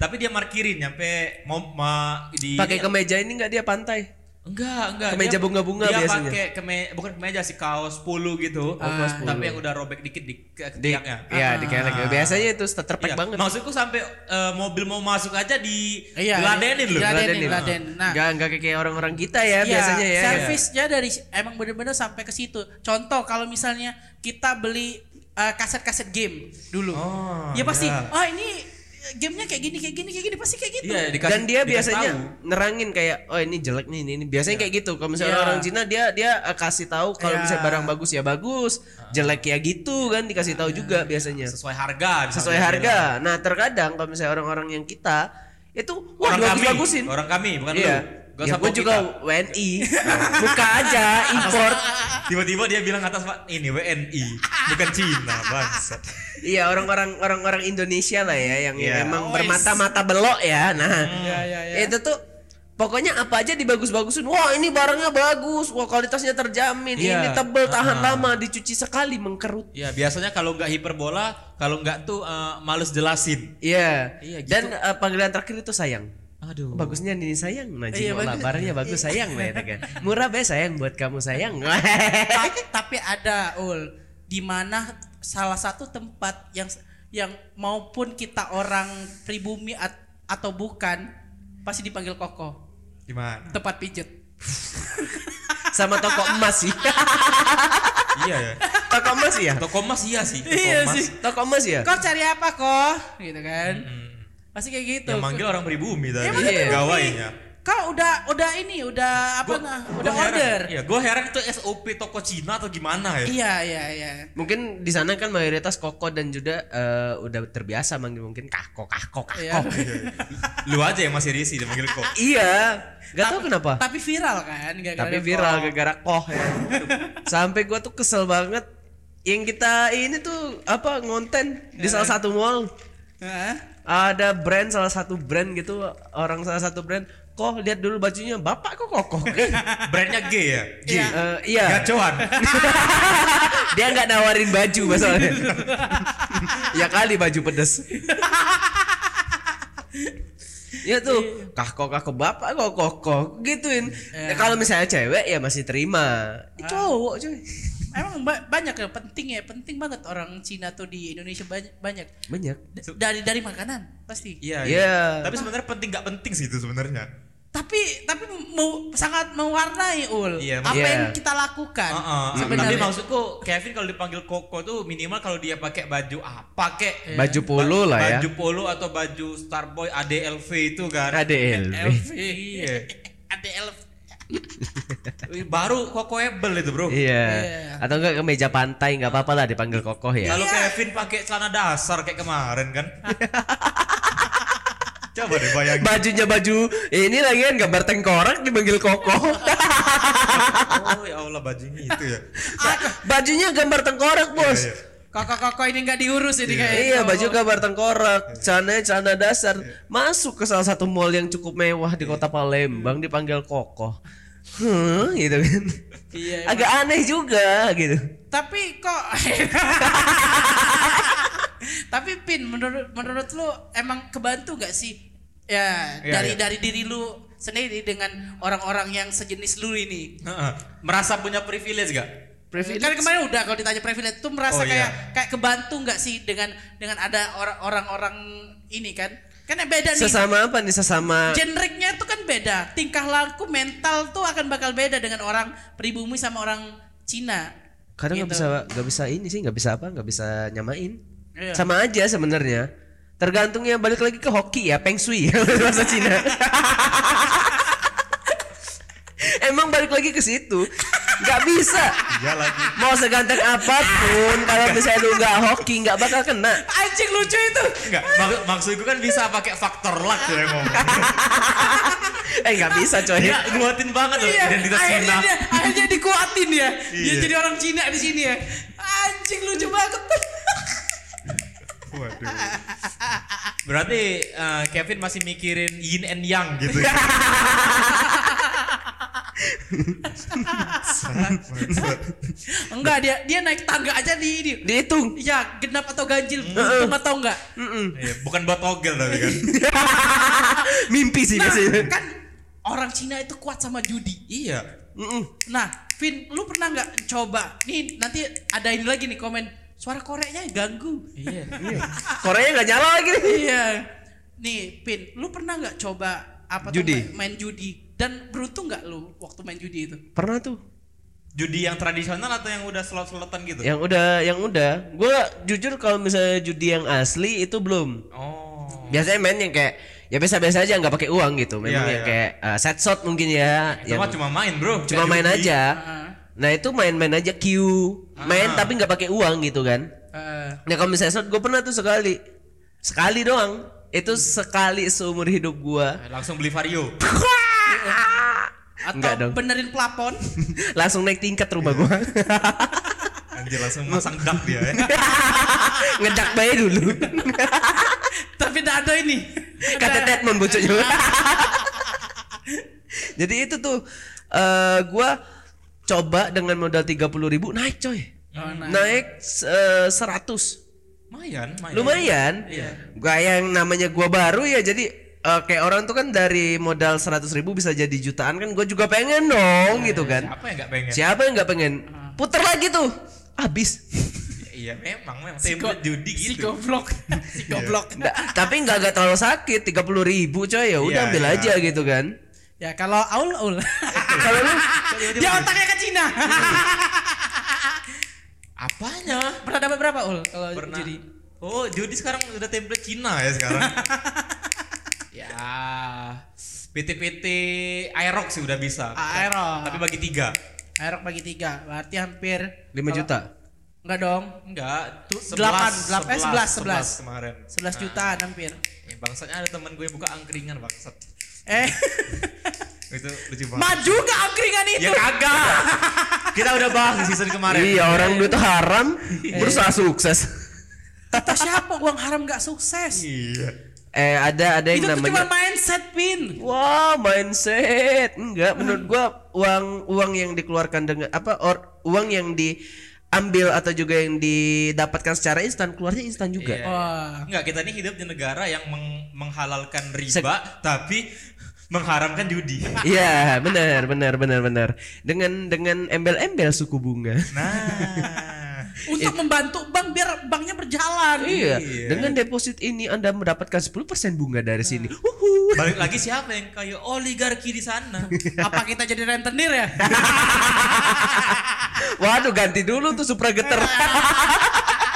Speaker 2: Tapi dia markirin nyampe mau ma- di
Speaker 3: Pakai kemeja ini nggak dia pantai?
Speaker 2: Enggak, enggak.
Speaker 3: Kemeja
Speaker 2: Dia-
Speaker 3: bunga-bunga
Speaker 2: dia
Speaker 3: biasanya. Oh,
Speaker 2: pakai keme bukan kemeja sih kaos 10 gitu.
Speaker 1: kaos
Speaker 2: Tapi yang udah robek dikit di ke ke
Speaker 3: Di,
Speaker 2: tiangnya.
Speaker 3: Iya, di kelek. Biasanya itu terpek
Speaker 2: Iya,
Speaker 3: banget.
Speaker 2: Maksudku sampai eh, mobil mau masuk aja di
Speaker 1: Iya,
Speaker 2: diladenin loh.
Speaker 1: diladenin.
Speaker 3: Laden ini.
Speaker 1: Laden. Nah.
Speaker 3: Nggak nggak kayak orang-orang kita
Speaker 1: Iya,
Speaker 3: ya biasanya ya.
Speaker 1: Servisnya dari emang bener-bener sampai ke situ. Contoh kalau misalnya kita beli eh, kaset-kaset game dulu.
Speaker 2: Oh,
Speaker 1: ya pasti,
Speaker 2: iya.
Speaker 1: oh ini eh, gamenya kayak gini, kayak gini, kayak gini pasti kayak gitu.
Speaker 2: Iya, dikasih-
Speaker 3: Dan dia
Speaker 2: dikasih
Speaker 3: biasanya
Speaker 2: tahu.
Speaker 3: nerangin kayak oh ini jelek nih ini, ini. biasanya kayak gitu. Kalau misalnya
Speaker 1: Iya.
Speaker 3: orang Cina dia dia eh, kasih tahu kalau
Speaker 1: Iya.
Speaker 3: misalnya barang bagus ya bagus, jelek ya gitu kan dikasih tahu juga
Speaker 2: Ah.
Speaker 3: biasanya.
Speaker 2: Iya. sesuai harga misalnya.
Speaker 3: sesuai harga. Nah, terkadang kalau misalnya orang-orang yang kita itu wah
Speaker 2: orang kami
Speaker 3: bagus-bagusin.
Speaker 2: orang kami bukan
Speaker 3: Iya.
Speaker 2: lu Gak
Speaker 3: Ya,
Speaker 2: usah
Speaker 3: gue
Speaker 2: bawa
Speaker 3: juga
Speaker 2: kita.
Speaker 3: WNI. Buka aja import.
Speaker 2: tiba-tiba dia bilang atas pak ini WNI bukan Cina bangsat
Speaker 3: Iya, orang-orang orang-orang Indonesia lah ya yang
Speaker 2: Iya.
Speaker 3: memang
Speaker 1: Ois.
Speaker 3: bermata-mata belok ya. Nah,
Speaker 1: Oh, Iya, iya, iya.
Speaker 3: itu tuh pokoknya apa aja dibagus-bagusin. Wah, ini barangnya bagus. Wah, kualitasnya terjamin.
Speaker 2: Iya.
Speaker 3: Ini tebel, tahan
Speaker 2: Ah.
Speaker 3: lama, dicuci sekali mengkerut.
Speaker 2: ya biasanya kalau nggak hiperbola kalau nggak tuh eh, males jelasin
Speaker 3: Iya.
Speaker 2: Iya, gitu.
Speaker 3: Dan eh, panggilan terakhir itu sayang.
Speaker 2: aduh
Speaker 3: Bagusnya ini sayang, nah
Speaker 1: Iya,
Speaker 3: jimola.
Speaker 1: bagus.
Speaker 3: barangnya bagus sayang lah ya kan. Murah be sayang buat kamu sayang.
Speaker 1: Ta- tapi ada ul di mana salah satu tempat yang yang maupun kita orang pribumi at- atau bukan pasti dipanggil koko
Speaker 2: gimana
Speaker 1: tempat pijet
Speaker 3: Sama toko emas sih.
Speaker 2: iya ya
Speaker 3: toko emas ya.
Speaker 2: toko emas iya sih toko
Speaker 1: Iya
Speaker 2: emas
Speaker 1: sih.
Speaker 3: Toko emas ya.
Speaker 1: kau cari apa kok gitu kan pasti kayak gitu
Speaker 2: yang manggil orang pribumi tadi
Speaker 1: Emang
Speaker 3: Iya.
Speaker 1: pribumi.
Speaker 2: gawainya
Speaker 1: kau udah udah ini udah apa
Speaker 2: Gua-
Speaker 1: nah
Speaker 2: gua
Speaker 1: udah
Speaker 2: heran.
Speaker 1: order
Speaker 2: iya gue heran itu SOP toko Cina atau gimana ya
Speaker 1: iya iya iya
Speaker 3: Mungkin di sana kan mayoritas koko dan juga eh, udah terbiasa manggil mungkin kako kako kako.
Speaker 1: Iya.
Speaker 2: Oh, lu aja yang masih risi dia manggil kok
Speaker 3: Iya. Gak tau kenapa.
Speaker 1: tapi viral kan gara-gara
Speaker 3: Tapi
Speaker 1: kok.
Speaker 3: viral gara-gara koh ya. Sampai gua tuh kesel banget. Yang kita ini tuh apa ngonten di salah
Speaker 1: Iya.
Speaker 3: satu mall.
Speaker 1: Hah?
Speaker 3: ada brand salah satu brand gitu orang salah satu brand kok lihat dulu bajunya bapak kok kokoh
Speaker 2: brandnya G ya G
Speaker 1: Iya.
Speaker 3: Eh, iya
Speaker 2: gacoan
Speaker 3: dia nggak nawarin baju masalahnya ya kali baju pedes ya tuh kah kok kah kok bapak kok kok kok gituin
Speaker 2: Eh.
Speaker 3: Ya, kalau misalnya cewek ya masih terima
Speaker 2: Ah.
Speaker 3: Ini cowok cuy
Speaker 1: emang ba- banyak ya penting ya penting banget orang Cina tuh di Indonesia banyak banyak
Speaker 3: banyak
Speaker 1: D- dari dari makanan pasti
Speaker 2: Iya.
Speaker 3: Iya.
Speaker 2: Tapi sebenarnya penting nggak penting sih itu sebenarnya.
Speaker 1: tapi tapi mau sangat mewarnai ul
Speaker 2: Iya,
Speaker 1: apa
Speaker 2: Uh-uh.
Speaker 3: iya.
Speaker 1: yang kita lakukan
Speaker 2: Heeh. Tapi
Speaker 1: sebenarnya
Speaker 2: maksudku Kevin kalau dipanggil Koko tuh minimal kalau dia pakai baju apa kek
Speaker 3: Eh, baju polo lah ya
Speaker 2: Baju polo atau baju Starboy ADLV itu kan.
Speaker 3: ADL
Speaker 2: Iya.
Speaker 1: ada elf
Speaker 2: Baru Koko Ebel itu, Bro.
Speaker 3: iya
Speaker 1: Iya.
Speaker 3: atau enggak ke meja pantai nggak apa-apa lah dipanggil kokoh ya
Speaker 2: Kalau Kevin pakai celana dasar kayak kemarin kan. Coba deh bayangin.
Speaker 3: bajunya baju ini lagi kan gambar tengkorak dipanggil kokoh
Speaker 2: Oh ya Allah bajunya itu ya.
Speaker 3: bajunya gambar tengkorak bos
Speaker 2: Iya,
Speaker 1: koko koko ini nggak diurus ini kayak gitu. Iya.
Speaker 3: Iya baju gambar tengkorak, celana celana dasar masuk ke salah satu mall yang cukup mewah
Speaker 1: Iya.
Speaker 3: di kota Palembang dipanggil kokoh, hmm, gitu kan,
Speaker 1: Iya, emang.
Speaker 3: agak aneh juga gitu.
Speaker 1: tapi kok tapi pin menurut menurut lu emang kebantu nggak sih ya
Speaker 2: Iya,
Speaker 1: dari
Speaker 2: iya.
Speaker 1: dari diri lu sendiri dengan orang-orang yang sejenis lu ini
Speaker 2: Heeh. Merasa punya privilege gak?
Speaker 1: Kan kemarin udah kalau ditanya privilege itu merasa
Speaker 2: Oh,
Speaker 1: kayak
Speaker 2: iya.
Speaker 1: kayak kebantu nggak sih dengan dengan ada orang- orang-orang ini kan? Kan beda nih.
Speaker 3: Sesama apa nih sesama?
Speaker 1: Genreknya itu kan kan beda. Tingkah laku mental tuh akan bakal beda dengan orang pribumi sama orang Cina.
Speaker 3: kadang nggak
Speaker 1: Gitu.
Speaker 3: bisa nggak bisa ini sih nggak bisa apa nggak bisa nyamain
Speaker 1: Iya.
Speaker 3: sama aja sebenarnya tergantungnya balik lagi ke hoki ya peng shui bahasa Cina emang balik lagi ke situ nggak bisa
Speaker 2: Iya lagi.
Speaker 3: mau seganteng apapun kalau misalnya lu nggak hoki nggak bakal kena
Speaker 1: Anjing lucu itu.
Speaker 2: Enggak, mak- maksud gue kan bisa pakai faktor luck ya ngomong.
Speaker 3: eh nggak bisa coy
Speaker 2: Iya, nguatin banget loh
Speaker 1: Iya,
Speaker 2: identitas
Speaker 1: akhirnya
Speaker 2: Cina.
Speaker 1: dia, akhirnya dikuatin ya. Dia
Speaker 2: Iya.
Speaker 1: jadi orang Cina di sini ya. Anjing lucu banget.
Speaker 2: Waduh. Berarti eh, Kevin masih mikirin yin and yang gitu. ya.
Speaker 1: enggak dia dia naik tangga aja di di.
Speaker 3: dihitung
Speaker 1: Ya, genap atau ganjil, untung atau enggak. Nah,
Speaker 3: Mm-mm.
Speaker 2: Iya, bukan buat togel tapi kan.
Speaker 3: mimpi sih
Speaker 1: Nah,
Speaker 3: biasanya
Speaker 1: kan orang Cina itu kuat sama judi.
Speaker 2: Iya.
Speaker 3: Mm-mm.
Speaker 1: Nah, Vin, lu pernah nggak coba? Nih, nanti ada ini lagi nih komen. Suara koreknya ganggu.
Speaker 2: Iya.
Speaker 3: Korea nggak nyala lagi nih
Speaker 1: iya. Nih, Vin, lu pernah nggak coba apa tuh
Speaker 3: Judi.
Speaker 1: main- main judi? Dan beruntung nggak lu waktu main judi itu?
Speaker 3: pernah tuh
Speaker 2: Judi yang tradisional atau yang udah slot-slotan gitu?
Speaker 1: Ya.
Speaker 3: yang udah yang udah gue jujur kalau misalnya judi yang asli itu belum
Speaker 2: Oh.
Speaker 3: biasanya main yang kayak ya biasa-biasa aja nggak pakai uang gitu memang
Speaker 2: Iya,
Speaker 3: yang
Speaker 2: iya.
Speaker 3: kayak uh, set shot mungkin ya
Speaker 2: Itu
Speaker 3: yang
Speaker 2: mah cuma main, Bro.
Speaker 3: cuma
Speaker 2: Kayak
Speaker 3: main
Speaker 2: judi.
Speaker 3: aja
Speaker 1: Heeh.
Speaker 3: nah itu main-main aja queue main tapi nggak pakai uang gitu kan
Speaker 1: Eh,
Speaker 3: nah kalau misalnya slot gue pernah tuh sekali sekali doang itu sekali seumur hidup gua
Speaker 2: Eh, Langsung beli Vario.
Speaker 1: atau
Speaker 3: Nggak dong.
Speaker 1: benerin plafon?
Speaker 3: langsung naik tingkat rumah gua
Speaker 2: Anjir langsung masang dak dia ya.
Speaker 3: ngedak bayi dulu
Speaker 1: Tapi nggak ada ini.
Speaker 3: kata
Speaker 1: Ada-
Speaker 3: Deadmon bocoknya jadi itu tuh eh gua coba dengan modal 30.000 ribu naik coy
Speaker 1: Oh, nah.
Speaker 3: naik eh, 100
Speaker 2: Lumayan, lumayan.
Speaker 1: iya.
Speaker 3: lumayan gak yang namanya gua baru ya jadi eh, kayak orang tuh kan dari modal 100.000 ribu bisa jadi jutaan kan gue juga pengen dong gitu kan
Speaker 2: Ya, Apa yang nggak pengen?
Speaker 3: siapa yang nggak pengen
Speaker 2: Hmm.
Speaker 3: puter lagi tuh habis
Speaker 2: Ya, Iya, memang memang
Speaker 1: Psiko-
Speaker 2: template judi
Speaker 1: Si
Speaker 2: gitu.
Speaker 1: goblok. Si goblok.
Speaker 3: Iya. Nggak- tapi nggak nggak terlalu sakit 30.000 ribu coy ya udah
Speaker 2: Iya,
Speaker 3: ambil
Speaker 2: iya.
Speaker 3: aja gitu kan
Speaker 1: Ya kalau Aul Aul.
Speaker 3: kalau lu
Speaker 1: Dia otaknya ke Cina.
Speaker 2: Apanya?
Speaker 1: Pernah dapat berapa Aul kalau
Speaker 2: Pernah.
Speaker 1: judi?
Speaker 2: Oh, judi sekarang udah template Cina ya sekarang. ya, PT-PT Aerox sih udah bisa.
Speaker 1: Ah, Aerox.
Speaker 2: Tapi bagi tiga.
Speaker 1: Aerok bagi tiga, berarti hampir
Speaker 3: 5 juta
Speaker 1: Enggak dong,
Speaker 2: Enggak, tuh
Speaker 1: Delapan,
Speaker 2: 11,
Speaker 1: delapan, eh, sebelas, sebelas.
Speaker 2: kemarin.
Speaker 1: 11 jutaan hampir.
Speaker 2: Ya, bangsatnya ada teman gue buka angkringan bangsat.
Speaker 1: Eh,
Speaker 2: Itu lucu banget.
Speaker 1: maju ke angkringan itu.
Speaker 2: ya kagak. Kita udah bahas di season kemarin. Iya.
Speaker 3: iya orang duit haram berusaha sukses
Speaker 1: Kata siapa uang haram gak sukses?
Speaker 2: Iya.
Speaker 3: eh ada ada
Speaker 1: Itu
Speaker 3: yang
Speaker 1: tuh cuma
Speaker 3: namanya
Speaker 1: mindset pin.
Speaker 3: Wah, mindset. Enggak, menurut gua uang uang yang dikeluarkan dengan apa or, uang yang diambil atau juga yang didapatkan secara instan keluarnya instan juga.
Speaker 2: Iya.
Speaker 1: Wah.
Speaker 2: Enggak, kita ini hidup di negara yang meng- menghalalkan riba
Speaker 3: Sek-
Speaker 2: tapi mengharamkan judi.
Speaker 3: Iya, benar, benar, benar, benar. Dengan dengan embel-embel suku bunga.
Speaker 2: Nah.
Speaker 1: Untuk membantu bank biar banknya berjalan.
Speaker 3: Iya,
Speaker 2: Iya.
Speaker 3: dengan deposit ini Anda mendapatkan 10% bunga dari sini. Wuhu.
Speaker 2: Balik lagi siapa yang kayak oligarki di sana?
Speaker 1: Apa kita jadi rentenir ya?
Speaker 3: Waduh, ganti dulu tuh supra geter.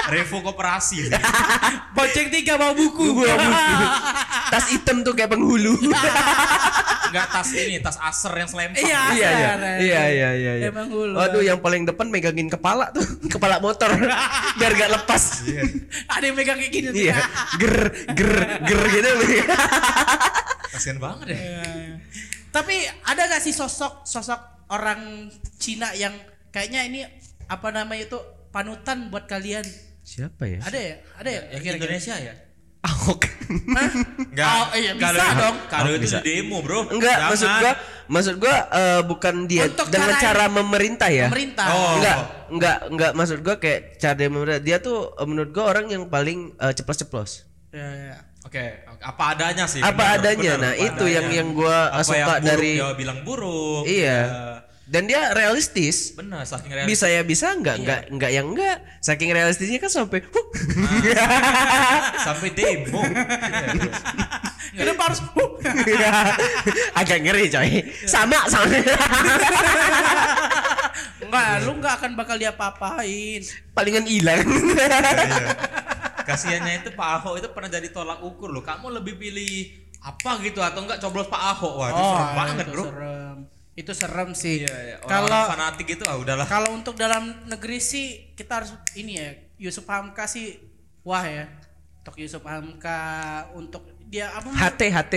Speaker 2: Revo koperasi.
Speaker 1: Bonceng tiga bawa buku.
Speaker 3: Tas hitam tuh kayak penghulu.
Speaker 2: Enggak tas ini, tas aser yang selempang.
Speaker 1: Iya.
Speaker 3: iya, iya.
Speaker 1: Keren.
Speaker 3: Iya, iya, iya, iya.
Speaker 1: Emang hulu.
Speaker 3: Waduh, yang paling depan megangin kepala tuh, kepala motor biar gak lepas.
Speaker 2: Iya.
Speaker 1: Ada yang megang kayak gini.
Speaker 3: Iya, ger ger ger gitu.
Speaker 2: Kasihan banget ya.
Speaker 1: Iya. Tapi ada gak sih sosok sosok orang Cina yang kayaknya ini apa namanya itu panutan buat kalian?
Speaker 3: Siapa ya?
Speaker 1: Ada ya? Ada ya?
Speaker 2: Yang Indonesia ya?
Speaker 3: Ahok.
Speaker 2: Enggak.
Speaker 1: Oh, iya, bisa dong.
Speaker 2: Kalau
Speaker 3: Oh,
Speaker 2: itu
Speaker 3: bisa.
Speaker 2: di demo, Bro.
Speaker 3: Enggak,
Speaker 2: Jangan.
Speaker 3: maksud gua maksud gua eh, bukan dia
Speaker 1: Untuk
Speaker 3: dengan cara,
Speaker 1: cara-
Speaker 3: memerintah ya.
Speaker 1: Pemerintah.
Speaker 2: Oh.
Speaker 3: Enggak, enggak, enggak maksud gua kayak cara dia memerintah. Dia tuh eh, menurut gua orang yang paling eh, ceplos-ceplos.
Speaker 1: Ya, ya.
Speaker 2: Oke, apa adanya sih.
Speaker 3: Apa adanya, nah,
Speaker 2: apa
Speaker 3: itu yang- yang
Speaker 2: Iya.
Speaker 3: gua,
Speaker 2: Apa
Speaker 3: eh, suka
Speaker 2: yang buruk ya?
Speaker 3: dari-
Speaker 2: dia bilang buruk.
Speaker 3: Iya.
Speaker 2: Eh,
Speaker 3: Dan dia realistis.
Speaker 2: Benar, saking realistis. Iya.
Speaker 3: bisa ya bisa enggak enggak enggak yang enggak saking
Speaker 2: Ah.
Speaker 3: realistisnya kan sampai "Huh."
Speaker 2: sampai demo. Iya, iya.
Speaker 1: Kenapa harus
Speaker 3: Agak ngeri coy.
Speaker 2: Iya.
Speaker 3: Sama sama.
Speaker 1: Enggak, lu enggak akan bakal diapa-apain.
Speaker 3: Palingan hilang.
Speaker 2: Iya. Kasiannya itu Pak Ahok itu pernah jadi tolak ukur loh. Kamu lebih pilih apa gitu atau enggak coblos Pak Ahok? Wah, iya, itu Oh, serem banget,
Speaker 1: itu
Speaker 2: Bro.
Speaker 1: serem. Itu serem sih.
Speaker 2: Iya, iya. Kalau
Speaker 1: Kalau
Speaker 2: fanatik itu ah udahlah.
Speaker 1: kalau untuk dalam negeri sih kita harus ini ya, Yusuf Hamka sih wah ya. Untuk Yusuf Hamka untuk dia apa?
Speaker 3: HT HT.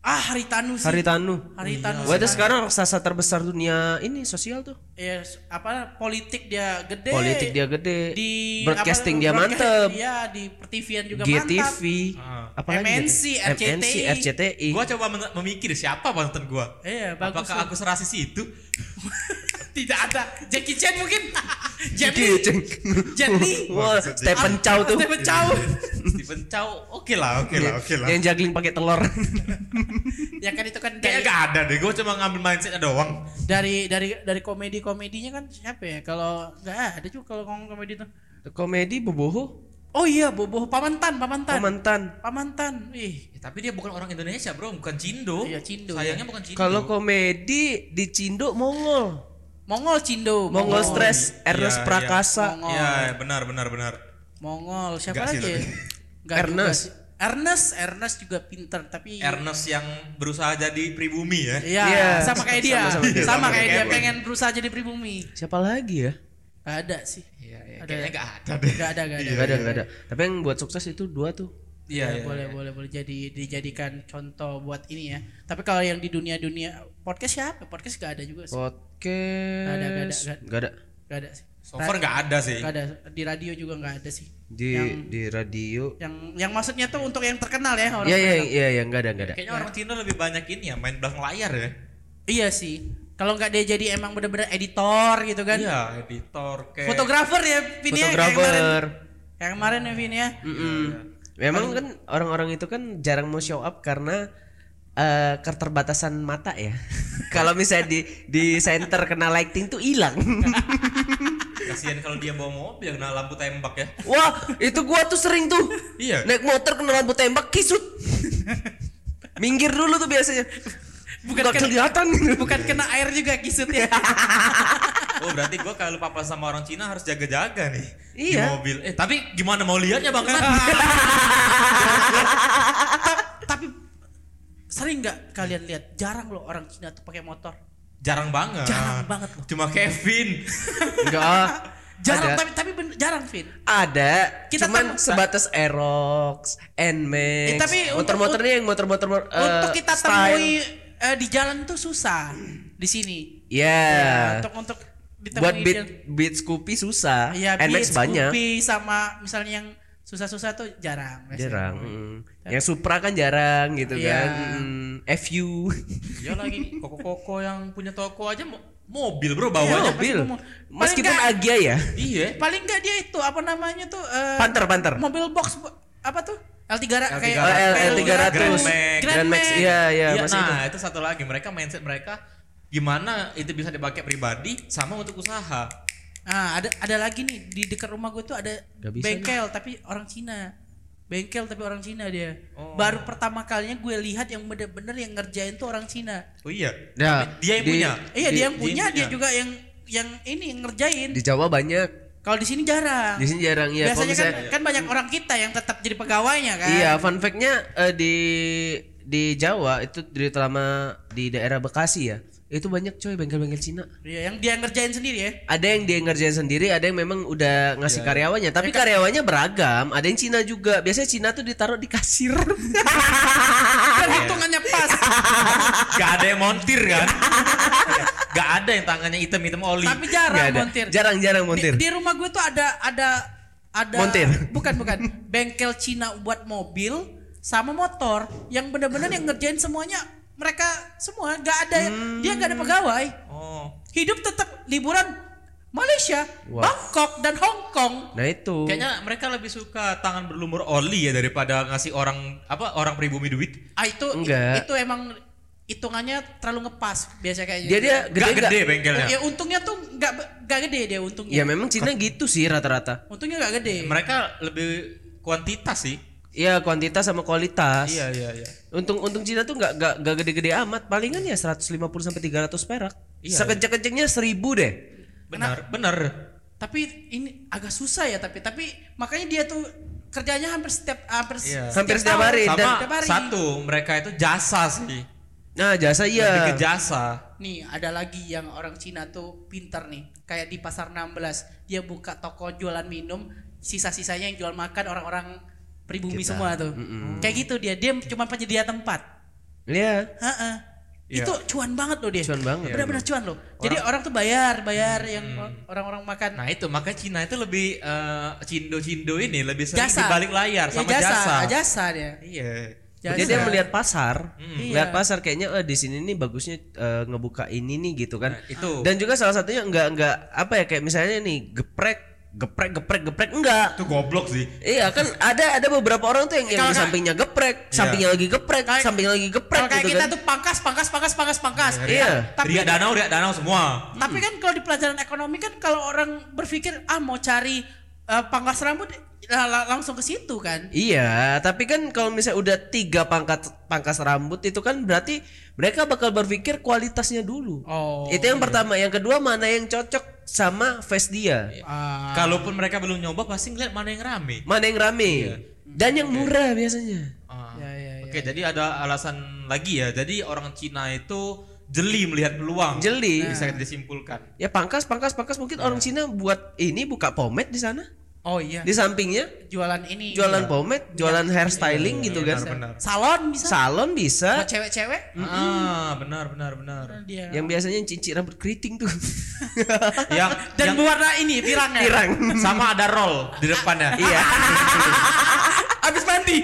Speaker 1: ah, Haritanu sih.
Speaker 3: Haritanu.
Speaker 1: Haritanu.
Speaker 3: Wah itu
Speaker 1: sih.
Speaker 3: sekarang raksasa terbesar dunia ini sosial tuh.
Speaker 1: Ya, s- apa politik dia gede.
Speaker 3: Politik dia gede.
Speaker 1: di apa,
Speaker 3: broadcasting dia
Speaker 1: broadcast-
Speaker 3: mantep.
Speaker 1: Iya, di pertivian juga mantap.
Speaker 3: GTV,
Speaker 2: Ah.
Speaker 3: apalagi
Speaker 1: MNC,
Speaker 3: ya?
Speaker 1: RCTI.
Speaker 3: MNC, RCTI.
Speaker 2: Gua coba men- memikir siapa mantan gua.
Speaker 1: Iya, bagus.
Speaker 2: Apakah aku serasis itu?
Speaker 1: Tidak ada Jackie Chan mungkin. Jet
Speaker 3: Gitu,
Speaker 1: Li.
Speaker 3: Ceng.
Speaker 1: Jet Li.
Speaker 3: Wah, Stephen Chow tuh.
Speaker 1: Stephen Chow.
Speaker 2: Steven Chow. Oke lah, oke lah, oke lah.
Speaker 3: Yang juggling pakai telur.
Speaker 1: ya kan itu kan
Speaker 2: Kayaknya
Speaker 1: dari
Speaker 2: gak ada deh, gua cuma ngambil mindsetnya doang.
Speaker 1: dari dari, dari komedi-komedinya kan siapa ya? Kalau nggak ada juga kalau ngomong komedi tuh.
Speaker 3: Komedi boboho,
Speaker 1: Oh iya, Bobo Pamantan, Pamantan.
Speaker 3: komentan.
Speaker 1: Pamantan. Ih,
Speaker 2: Ya, tapi dia bukan orang Indonesia bro, bukan Cindo.
Speaker 1: Iya, Cindo.
Speaker 2: Sayangnya bukan Cindo.
Speaker 3: Kalau komedi di Cindo Mongol.
Speaker 1: Mongol Cindo.
Speaker 3: Mongol Stress,
Speaker 2: Iya,
Speaker 3: Ernest
Speaker 2: iya.
Speaker 3: Prakasa.
Speaker 2: Iya, benar, benar, benar.
Speaker 1: Mongol siapa
Speaker 2: Nggak sih,
Speaker 1: lagi? ya?
Speaker 2: tapi.
Speaker 1: Nggak juga
Speaker 3: Ernest.
Speaker 1: sih. Ernest, Ernest juga pinter tapi
Speaker 2: Ernest yang berusaha jadi pribumi ya.
Speaker 1: Iya,
Speaker 3: Iya.
Speaker 1: sama kayak dia. Sama,
Speaker 3: Sama-sama
Speaker 2: dia. Sama
Speaker 1: kayak dia
Speaker 2: kayak gue.
Speaker 1: pengen berusaha jadi pribumi.
Speaker 3: Siapa lagi ya?
Speaker 1: Gak ada sih.
Speaker 2: Iya, iya.
Speaker 1: Ada.
Speaker 2: Kayaknya gak ada deh.
Speaker 1: Gak ada, gak ada.
Speaker 3: Gak ada, gak ada. Tapi yang buat sukses itu dua tuh.
Speaker 1: Ya,
Speaker 2: Iya,
Speaker 1: boleh, boleh, boleh jadi dijadikan contoh buat ini ya. Tapi kalau yang di dunia-dunia podcast siapa? Podcast gak ada juga
Speaker 3: Oh.
Speaker 1: sih. Gak ada, gak ada,
Speaker 3: Podcast.
Speaker 1: gak ada.
Speaker 3: Gak ada.
Speaker 1: Gak ada sih.
Speaker 2: So far gak ada sih.
Speaker 1: Gak ada. Di radio juga gak ada sih.
Speaker 3: Di di radio.
Speaker 1: Yang yang maksudnya tuh untuk yang terkenal ya orang.
Speaker 3: Iya, iya,
Speaker 1: terkenal.
Speaker 3: iya, iya, gak ada, gak ada.
Speaker 2: Kayaknya orang Cindo lebih banyak ini ya, main belakang layar ya.
Speaker 1: Iya sih. Kalau nggak dia jadi emang bener-bener editor gitu kan.
Speaker 2: Iya, editor kayak.
Speaker 1: Fotografer ya Vin ya, kayak kemarin.
Speaker 3: Fotografer.
Speaker 1: Yang kemarin ya Vin ya.
Speaker 3: Mm-mm. Memang kan orang-orang itu kan jarang mau show up karena eh, keterbatasan mata ya. Kalau misalnya di di center kena lighting tuh hilang.
Speaker 2: Kasihan kalau dia bawa mobil yang kena lampu tembak ya.
Speaker 3: Wah, itu gua tuh sering tuh.
Speaker 2: Iya.
Speaker 3: Naik motor kena lampu tembak kisut. Minggir dulu tuh biasanya.
Speaker 1: Bukan
Speaker 3: Bukan Gak
Speaker 1: kena-
Speaker 3: kelihatan.
Speaker 1: Bukan kena air juga kisut ya.
Speaker 2: Oh berarti gua kalau papa sama orang Cina harus jaga-jaga nih di
Speaker 3: Iya.
Speaker 2: mobil. Eh tapi gimana mau lihatnya bang?
Speaker 1: Tapi sering nggak kalian lihat jarang loh orang Cina tuh pakai motor.
Speaker 2: Jarang banget.
Speaker 1: Jarang banget loh.
Speaker 2: Cuma Kevin.
Speaker 3: Enggak.
Speaker 1: Jarang
Speaker 3: ah, ada.
Speaker 1: tapi tapi bener- jarang Vin.
Speaker 3: Eh, ada.
Speaker 1: Kita
Speaker 3: cuman
Speaker 1: tem-
Speaker 3: sebatas Aerox, Nmax.
Speaker 1: Eh, tapi untuk-
Speaker 3: motor-motornya yang motor-motor eh,
Speaker 1: untuk kita
Speaker 3: style.
Speaker 1: temui eh, di jalan tuh susah di sini.
Speaker 3: Ya.
Speaker 1: Ya, untuk untuk ditemui
Speaker 3: Buat beat
Speaker 1: dia-
Speaker 3: beat Scoopy susah.
Speaker 1: Iya,
Speaker 3: Nmax
Speaker 1: Beats,
Speaker 3: banyak.
Speaker 1: Scoopy sama misalnya yang susah-susah tuh jarang. biasanya.
Speaker 3: Jarang. mm. Yang Supra kan jarang gitu
Speaker 1: Iya.
Speaker 3: kan. Mm, FU.
Speaker 2: Iya lagi koko-koko yang punya toko aja mo- mobil bro
Speaker 1: pasti
Speaker 2: bawanya.
Speaker 3: mobil.
Speaker 1: mau-
Speaker 3: Oh,
Speaker 1: Iya,
Speaker 3: Meskipun
Speaker 1: Paling
Speaker 3: Agia ya.
Speaker 2: Iya.
Speaker 1: Paling nggak dia itu apa namanya tuh eh,
Speaker 3: Panter, panter.
Speaker 1: mobil box bu- apa tuh? L3
Speaker 2: L300.
Speaker 1: kayak
Speaker 3: Oh, L,
Speaker 1: kayak
Speaker 3: L300.
Speaker 2: Grand Max.
Speaker 1: Grand Max.
Speaker 3: Iya, iya,
Speaker 2: Iya,
Speaker 3: masih itu.
Speaker 2: nah itu. satu lagi mereka mindset mereka gimana itu bisa dipakai pribadi sama untuk usaha.
Speaker 1: Ah, ada ada lagi nih di dekat rumah gue tuh ada
Speaker 3: Nggak bisa
Speaker 1: bengkel tapi orang Cina. Bengkel tapi orang Cina dia.
Speaker 2: Oh.
Speaker 1: Baru pertama kalinya gue lihat yang bener-bener yang ngerjain tuh orang Cina.
Speaker 2: Oh iya.
Speaker 3: Nah,
Speaker 2: Dia yang
Speaker 3: di-
Speaker 2: punya.
Speaker 1: Iya,
Speaker 3: Di-
Speaker 1: dia yang punya,
Speaker 2: dia
Speaker 1: dia,
Speaker 2: yang punya.
Speaker 1: juga yang yang ini yang ngerjain.
Speaker 3: Di Jawa banyak.
Speaker 1: Kalau di sini jarang.
Speaker 3: Di sini jarang ya.
Speaker 1: Ah. Biasanya kan, kan banyak orang kita yang tetap jadi pegawainya kan.
Speaker 3: Iya, fun fact-nya eh, di di Jawa itu terutama di daerah Bekasi ya. Itu banyak coy bengkel-bengkel Cina.
Speaker 1: Iya, yang dia ngerjain sendiri ya.
Speaker 3: Ada yang dia ngerjain sendiri, ada yang memang
Speaker 1: Iya.
Speaker 3: udah ngasih karyawannya, tapi karyawannya beragam. Ada yang Cina juga. Biasanya Cina tuh ditaruh di kasir. Ah,
Speaker 1: Kan
Speaker 3: iya.
Speaker 1: hitungannya pas.
Speaker 2: Gak ada yang montir kan? Gak ada yang tangannya hitam-hitam oli.
Speaker 1: tapi
Speaker 3: Nggak
Speaker 1: jarang
Speaker 3: ada.
Speaker 1: montir.
Speaker 3: Jarang-jarang
Speaker 1: Di,
Speaker 3: montir.
Speaker 1: di rumah gue tuh ada ada ada
Speaker 3: Montir.
Speaker 1: bukan bukan bengkel Cina buat mobil sama motor yang bener-bener yang ngerjain semuanya mereka semua nggak ada
Speaker 3: Hmm.
Speaker 1: dia nggak ada pegawai
Speaker 2: Oh.
Speaker 1: hidup tetap liburan Malaysia
Speaker 3: Wah.
Speaker 1: Bangkok dan Hong Kong
Speaker 3: Nah itu.
Speaker 2: Kayaknya ya, mereka lebih suka tangan berlumur oli ya daripada ngasih orang apa orang pribumi duit.
Speaker 1: ah itu
Speaker 3: Nggak.
Speaker 1: itu emang hitungannya terlalu ngepas biasa kayaknya
Speaker 3: Dia dia
Speaker 2: Gede gak
Speaker 3: gede
Speaker 2: gede
Speaker 3: nggak? Iya.
Speaker 2: bengkelnya.
Speaker 1: ya untungnya tuh nggak be- nggak gede dia untungnya
Speaker 3: Ya memang Cina gitu sih rata-rata.
Speaker 1: untungnya nggak gede
Speaker 2: Mereka lebih kuantitas sih.
Speaker 3: Iya kuantitas sama kualitas.
Speaker 2: Iya iya iya.
Speaker 3: Untung untung Cina tuh nggak nggak nggak gede-gede amat. Palingan ya 150 sampai 300 perak.
Speaker 2: Iya,
Speaker 3: Sekenceng-kencengnya 1000 deh.
Speaker 2: Benar benar.
Speaker 1: Tapi ini agak susah ya tapi tapi makanya dia tuh kerjanya hampir setiap hampir se-
Speaker 2: Iya.
Speaker 3: Hampir setiap
Speaker 1: tahun.
Speaker 3: hari,
Speaker 2: Sama
Speaker 1: Setiap hari.
Speaker 2: satu mereka itu jasa sih.
Speaker 3: Nah, jasa
Speaker 2: Lebih
Speaker 3: iya.
Speaker 2: ke jasa.
Speaker 1: Nih ada lagi yang orang Cina tuh pinter nih Kayak di pasar 16 Dia buka toko jualan minum Sisa-sisanya yang jual makan orang-orang pribumi
Speaker 3: Kita.
Speaker 1: semua tuh
Speaker 2: Hmm.
Speaker 1: Kayak gitu dia Dia cuma penyedia tempat
Speaker 3: Iya.
Speaker 1: Heeh.
Speaker 2: Iya.
Speaker 1: Itu cuan banget loh dia
Speaker 3: Cuan banget.
Speaker 1: Bener-bener cuan loh Jadi orang tuh bayar Bayar yang orang-orang makan
Speaker 2: Nah itu makanya Cina itu lebih eh, cindo-cindo ini lebih sering
Speaker 1: Jasa.
Speaker 2: di balik layar
Speaker 1: Ya,
Speaker 2: sama
Speaker 1: jasa,
Speaker 2: jasa.
Speaker 1: jasa dia
Speaker 2: Iya.
Speaker 1: Jasa.
Speaker 3: Jadi dia melihat pasar,
Speaker 1: Mm.
Speaker 3: melihat
Speaker 1: Iya.
Speaker 3: pasar kayaknya eh, di sini nih bagusnya eh, ngebuka ini nih gitu kan.
Speaker 2: Nah, itu.
Speaker 3: Dan juga salah satunya enggak enggak apa ya kayak misalnya nih geprek geprek geprek geprek enggak.
Speaker 2: itu goblok sih.
Speaker 3: Iya kan ada ada beberapa orang tuh yang, yang
Speaker 1: Kalau
Speaker 3: di
Speaker 1: kayak-
Speaker 3: sampingnya geprek, sampingnya lagi geprek, sampingnya lagi geprek
Speaker 1: Kalau kayak
Speaker 3: gitu
Speaker 1: kita
Speaker 3: kan.
Speaker 1: tuh pangkas, pangkas, pangkas, pangkas, pangkas.
Speaker 3: Iya.
Speaker 1: Tapi
Speaker 2: Riak danau, riak danau semua.
Speaker 1: Tapi kan kalau di pelajaran ekonomi kan kalau orang berpikir ah mau cari eh, pangkas rambut la- la- langsung ke situ kan.
Speaker 3: Iya, tapi kan kalau misalnya udah tiga pangkat pangkas rambut itu kan berarti mereka bakal berpikir kualitasnya dulu.
Speaker 1: Oh.
Speaker 3: itu yang pertama, yang kedua mana yang cocok sama face dia,
Speaker 1: Ah.
Speaker 2: Kalaupun mereka belum nyoba pasti ngeliat mana yang rame.
Speaker 3: mana yang rame
Speaker 1: Iya.
Speaker 3: dan yang murah biasanya.
Speaker 2: Ah.
Speaker 1: Ya, ya, ya.
Speaker 2: Oke, jadi ada alasan lagi ya. Jadi orang Cina itu jeli melihat
Speaker 1: Nah.
Speaker 2: peluang.
Speaker 3: Jeli.
Speaker 2: Bisa disimpulkan.
Speaker 3: Ya pangkas pangkas pangkas mungkin orang Cina buat ini buka pomade di sana,
Speaker 1: Oh iya.
Speaker 3: di sampingnya
Speaker 1: Jualan ini.
Speaker 3: jualan pomade, jualan hairstyling
Speaker 1: Iya,
Speaker 3: gitu kan.
Speaker 2: Benar, benar.
Speaker 1: Salon bisa.
Speaker 3: Salon bisa.
Speaker 1: Buat cewek-cewek.
Speaker 2: Ah, benar benar benar.
Speaker 1: Dia.
Speaker 3: Yang
Speaker 2: Ya.
Speaker 3: biasanya cincin rambut keriting tuh.
Speaker 2: yang
Speaker 1: Dan berwarna ini pirangnya.
Speaker 3: Pirang.
Speaker 2: Ya. sama ada roll di depannya.
Speaker 3: Iya.
Speaker 1: Abis mandi.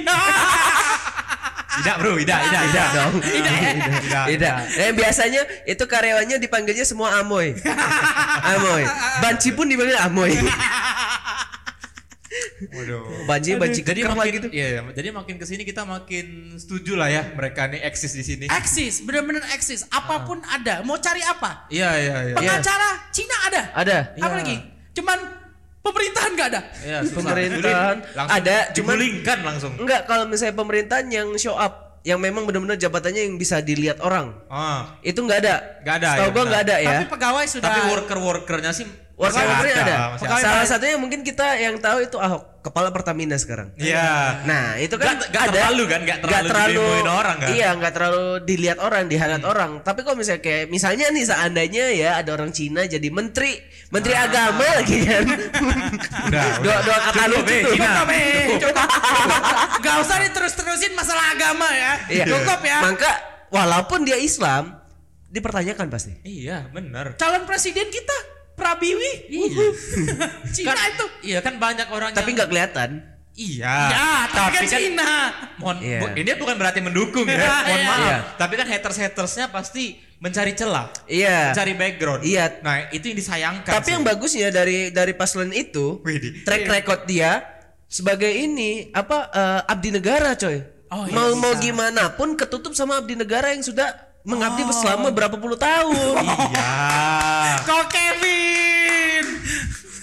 Speaker 2: Tidak, Bro, tidak, tidak, tidak.
Speaker 3: dong.
Speaker 2: Tidak. Tidak.
Speaker 3: Beda. Dan biasanya itu karyawannya dipanggilnya semua Amoy. Amoy. Banci pun dipanggil Amoy.
Speaker 2: Waduh.
Speaker 3: Banci banci
Speaker 2: Jadi
Speaker 3: keker
Speaker 2: makin
Speaker 3: lagi tuh.
Speaker 2: iya, iya. jadi makin kesini kita makin setuju lah ya mereka nih eksis di sini.
Speaker 1: eksis, bener-bener eksis. Apapun ada. Mau cari apa?
Speaker 2: Iya iya iya.
Speaker 1: Pengacara Cina ada.
Speaker 3: Ada.
Speaker 1: Apa lagi? Cuman pemerintahan nggak ada.
Speaker 2: Iya, susah.
Speaker 3: Pemerintahan
Speaker 2: Sulit. Langsung
Speaker 3: ada, cuman-
Speaker 2: digulingkan langsung.
Speaker 3: Enggak kalau misalnya pemerintahan yang show up, yang memang benar-benar jabatannya yang bisa dilihat orang.
Speaker 2: Ah,
Speaker 3: Itu enggak ada.
Speaker 2: Nggak ada,
Speaker 3: Tahu
Speaker 2: ya,
Speaker 3: gua
Speaker 2: benar.
Speaker 3: enggak ada ya.
Speaker 1: Tapi pegawai sudah.
Speaker 2: tapi worker-workernya sih
Speaker 3: Warga
Speaker 2: masih
Speaker 3: ada. ya ada.
Speaker 2: masih
Speaker 1: Pegawai-
Speaker 3: Salah satunya mungkin kita yang tahu itu Ahok, kepala Pertamina sekarang.
Speaker 2: Iya.
Speaker 3: Nah, itu kan
Speaker 2: Nggak- nggak terlalu kan, nggak terlalu didemoin orang kan? Hmm.
Speaker 3: Iya, nggak terlalu dilihat orang, dihangat orang. Tapi kalau misalnya kayak misalnya nih seandainya ya ada orang Cina jadi menteri, menteri agama lagi kan.
Speaker 2: Ah. Udah,
Speaker 3: Doa doa kata
Speaker 2: Cukup,
Speaker 3: lucu
Speaker 2: eh,
Speaker 3: tuh.
Speaker 2: Cina.
Speaker 1: Cukup, eh. Cukup. Gak usah diterus-terusin masalah agama ya.
Speaker 3: Iya.
Speaker 1: Cukup ya.
Speaker 3: Maka walaupun dia Islam dipertanyakan pasti.
Speaker 2: Iya, benar.
Speaker 1: Calon presiden kita Prabiwi. Uhuh. Cina itu.
Speaker 2: Iya kan banyak orang
Speaker 3: Tapi
Speaker 2: yang-
Speaker 3: nggak kelihatan.
Speaker 2: Iya.
Speaker 1: Ya, tapi, kan Cina.
Speaker 2: mohon
Speaker 3: Iya.
Speaker 2: bu- ini bukan berarti mendukung ya. mohon
Speaker 1: Iya.
Speaker 2: maaf.
Speaker 3: Iya.
Speaker 2: Tapi kan haters-hatersnya pasti mencari celah,
Speaker 3: Iya.
Speaker 2: mencari background.
Speaker 3: Iya.
Speaker 2: Nah, itu yang disayangkan.
Speaker 3: Tapi
Speaker 2: sih.
Speaker 3: yang bagusnya dari dari paslon itu
Speaker 2: Widih.
Speaker 3: track
Speaker 2: Iya.
Speaker 3: record dia sebagai ini apa eh, abdi negara coy.
Speaker 1: Oh, iya,
Speaker 3: mau mau
Speaker 1: bisa.
Speaker 3: gimana pun ketutup sama abdi negara yang sudah mengabdi
Speaker 2: Oh.
Speaker 3: selama berapa puluh tahun.
Speaker 2: Iya.
Speaker 1: Kok Kevin.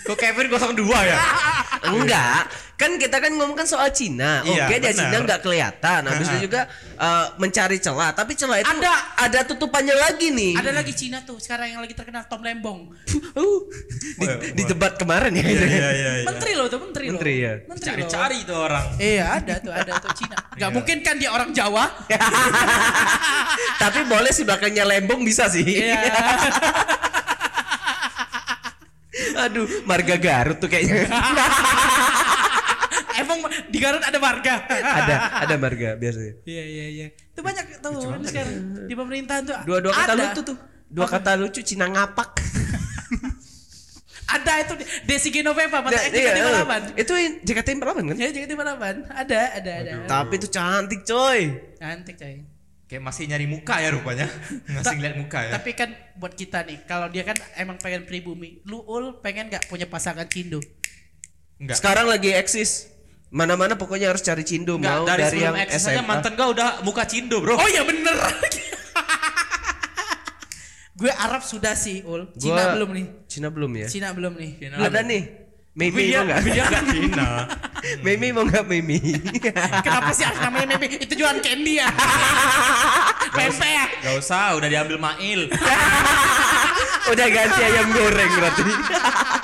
Speaker 2: Kok Kevin 02 ya?
Speaker 3: Enggak, kan kita kan ngomongkan soal Cina.
Speaker 2: Iya,
Speaker 3: Oke, dia
Speaker 2: benar.
Speaker 3: Cina nggak kelihatan. Habis itu juga eh, mencari celah, tapi celah itu
Speaker 1: Ada.
Speaker 3: ada tutupannya lagi nih.
Speaker 1: Ada lagi Cina tuh sekarang yang lagi terkenal Tom Lembong.
Speaker 3: Uh, di,
Speaker 2: Wah,
Speaker 3: di
Speaker 2: wah.
Speaker 3: debat kemarin
Speaker 2: Iya,
Speaker 3: ya. itu.
Speaker 1: Menteri loh tuh, menteri, loh.
Speaker 3: Menteri, ya.
Speaker 1: Menteri loh.
Speaker 2: Cari-cari itu orang.
Speaker 1: Iya ada tuh, ada tuh Cina. Gak
Speaker 2: Iya.
Speaker 1: mungkin kan dia orang Jawa.
Speaker 3: Iya. tapi boleh sih belakangnya lembong bisa sih.
Speaker 1: Iya.
Speaker 3: Aduh, marga Garut tuh kayaknya.
Speaker 1: Emang di Garut ada warga.
Speaker 3: ada, ada marga biasanya.
Speaker 1: Iya iya iya. Itu banyak tuh ini sekarang di pemerintahan tuh.
Speaker 3: Dua-dua kata
Speaker 1: ada.
Speaker 3: lucu tuh. Dua kata lucu Cina ngapak.
Speaker 1: Ada itu Desi Genoveva mata
Speaker 3: Nah,
Speaker 1: etika
Speaker 3: iya,
Speaker 1: di Malaban.
Speaker 3: Itu yang JKT Malaban kan?
Speaker 1: Ya juga di Malaban. Ada, ada, ada.
Speaker 3: Tapi itu cantik coy.
Speaker 1: Cantik
Speaker 3: Eh.
Speaker 1: coy.
Speaker 2: Kayak masih nyari muka ya rupanya. Masih ngeliat muka ya.
Speaker 1: Tapi kan buat kita nih, kalau dia kan emang pengen pribumi. Lu ul pengen gak punya pasangan Cindo?
Speaker 2: Enggak.
Speaker 3: Sekarang lagi eksis. Mana-mana pokoknya harus cari Cindo
Speaker 2: Enggak,
Speaker 3: mau
Speaker 2: dari,
Speaker 3: dari,
Speaker 2: sebelum
Speaker 3: yang
Speaker 2: eksis aja
Speaker 3: SMA.
Speaker 2: mantan gua udah muka cindo, Bro.
Speaker 1: Oh ya bener. Gue Arab sudah sih ul. Cina
Speaker 3: Gua-
Speaker 1: belum nih.
Speaker 3: Cina belum ya?
Speaker 1: Cina belum nih.
Speaker 2: Cina
Speaker 3: Ada nih.
Speaker 2: Tapi
Speaker 3: Maybe
Speaker 2: dia
Speaker 3: enggak?
Speaker 2: tapi dia enggak Cina.
Speaker 3: Mimi mau nggak Mimi?
Speaker 1: Kenapa sih harus namanya meme? Itu jualan candy ya. Pempek ya.
Speaker 2: Gak usah, udah diambil Mail.
Speaker 3: Udah ganti ayam goreng berarti.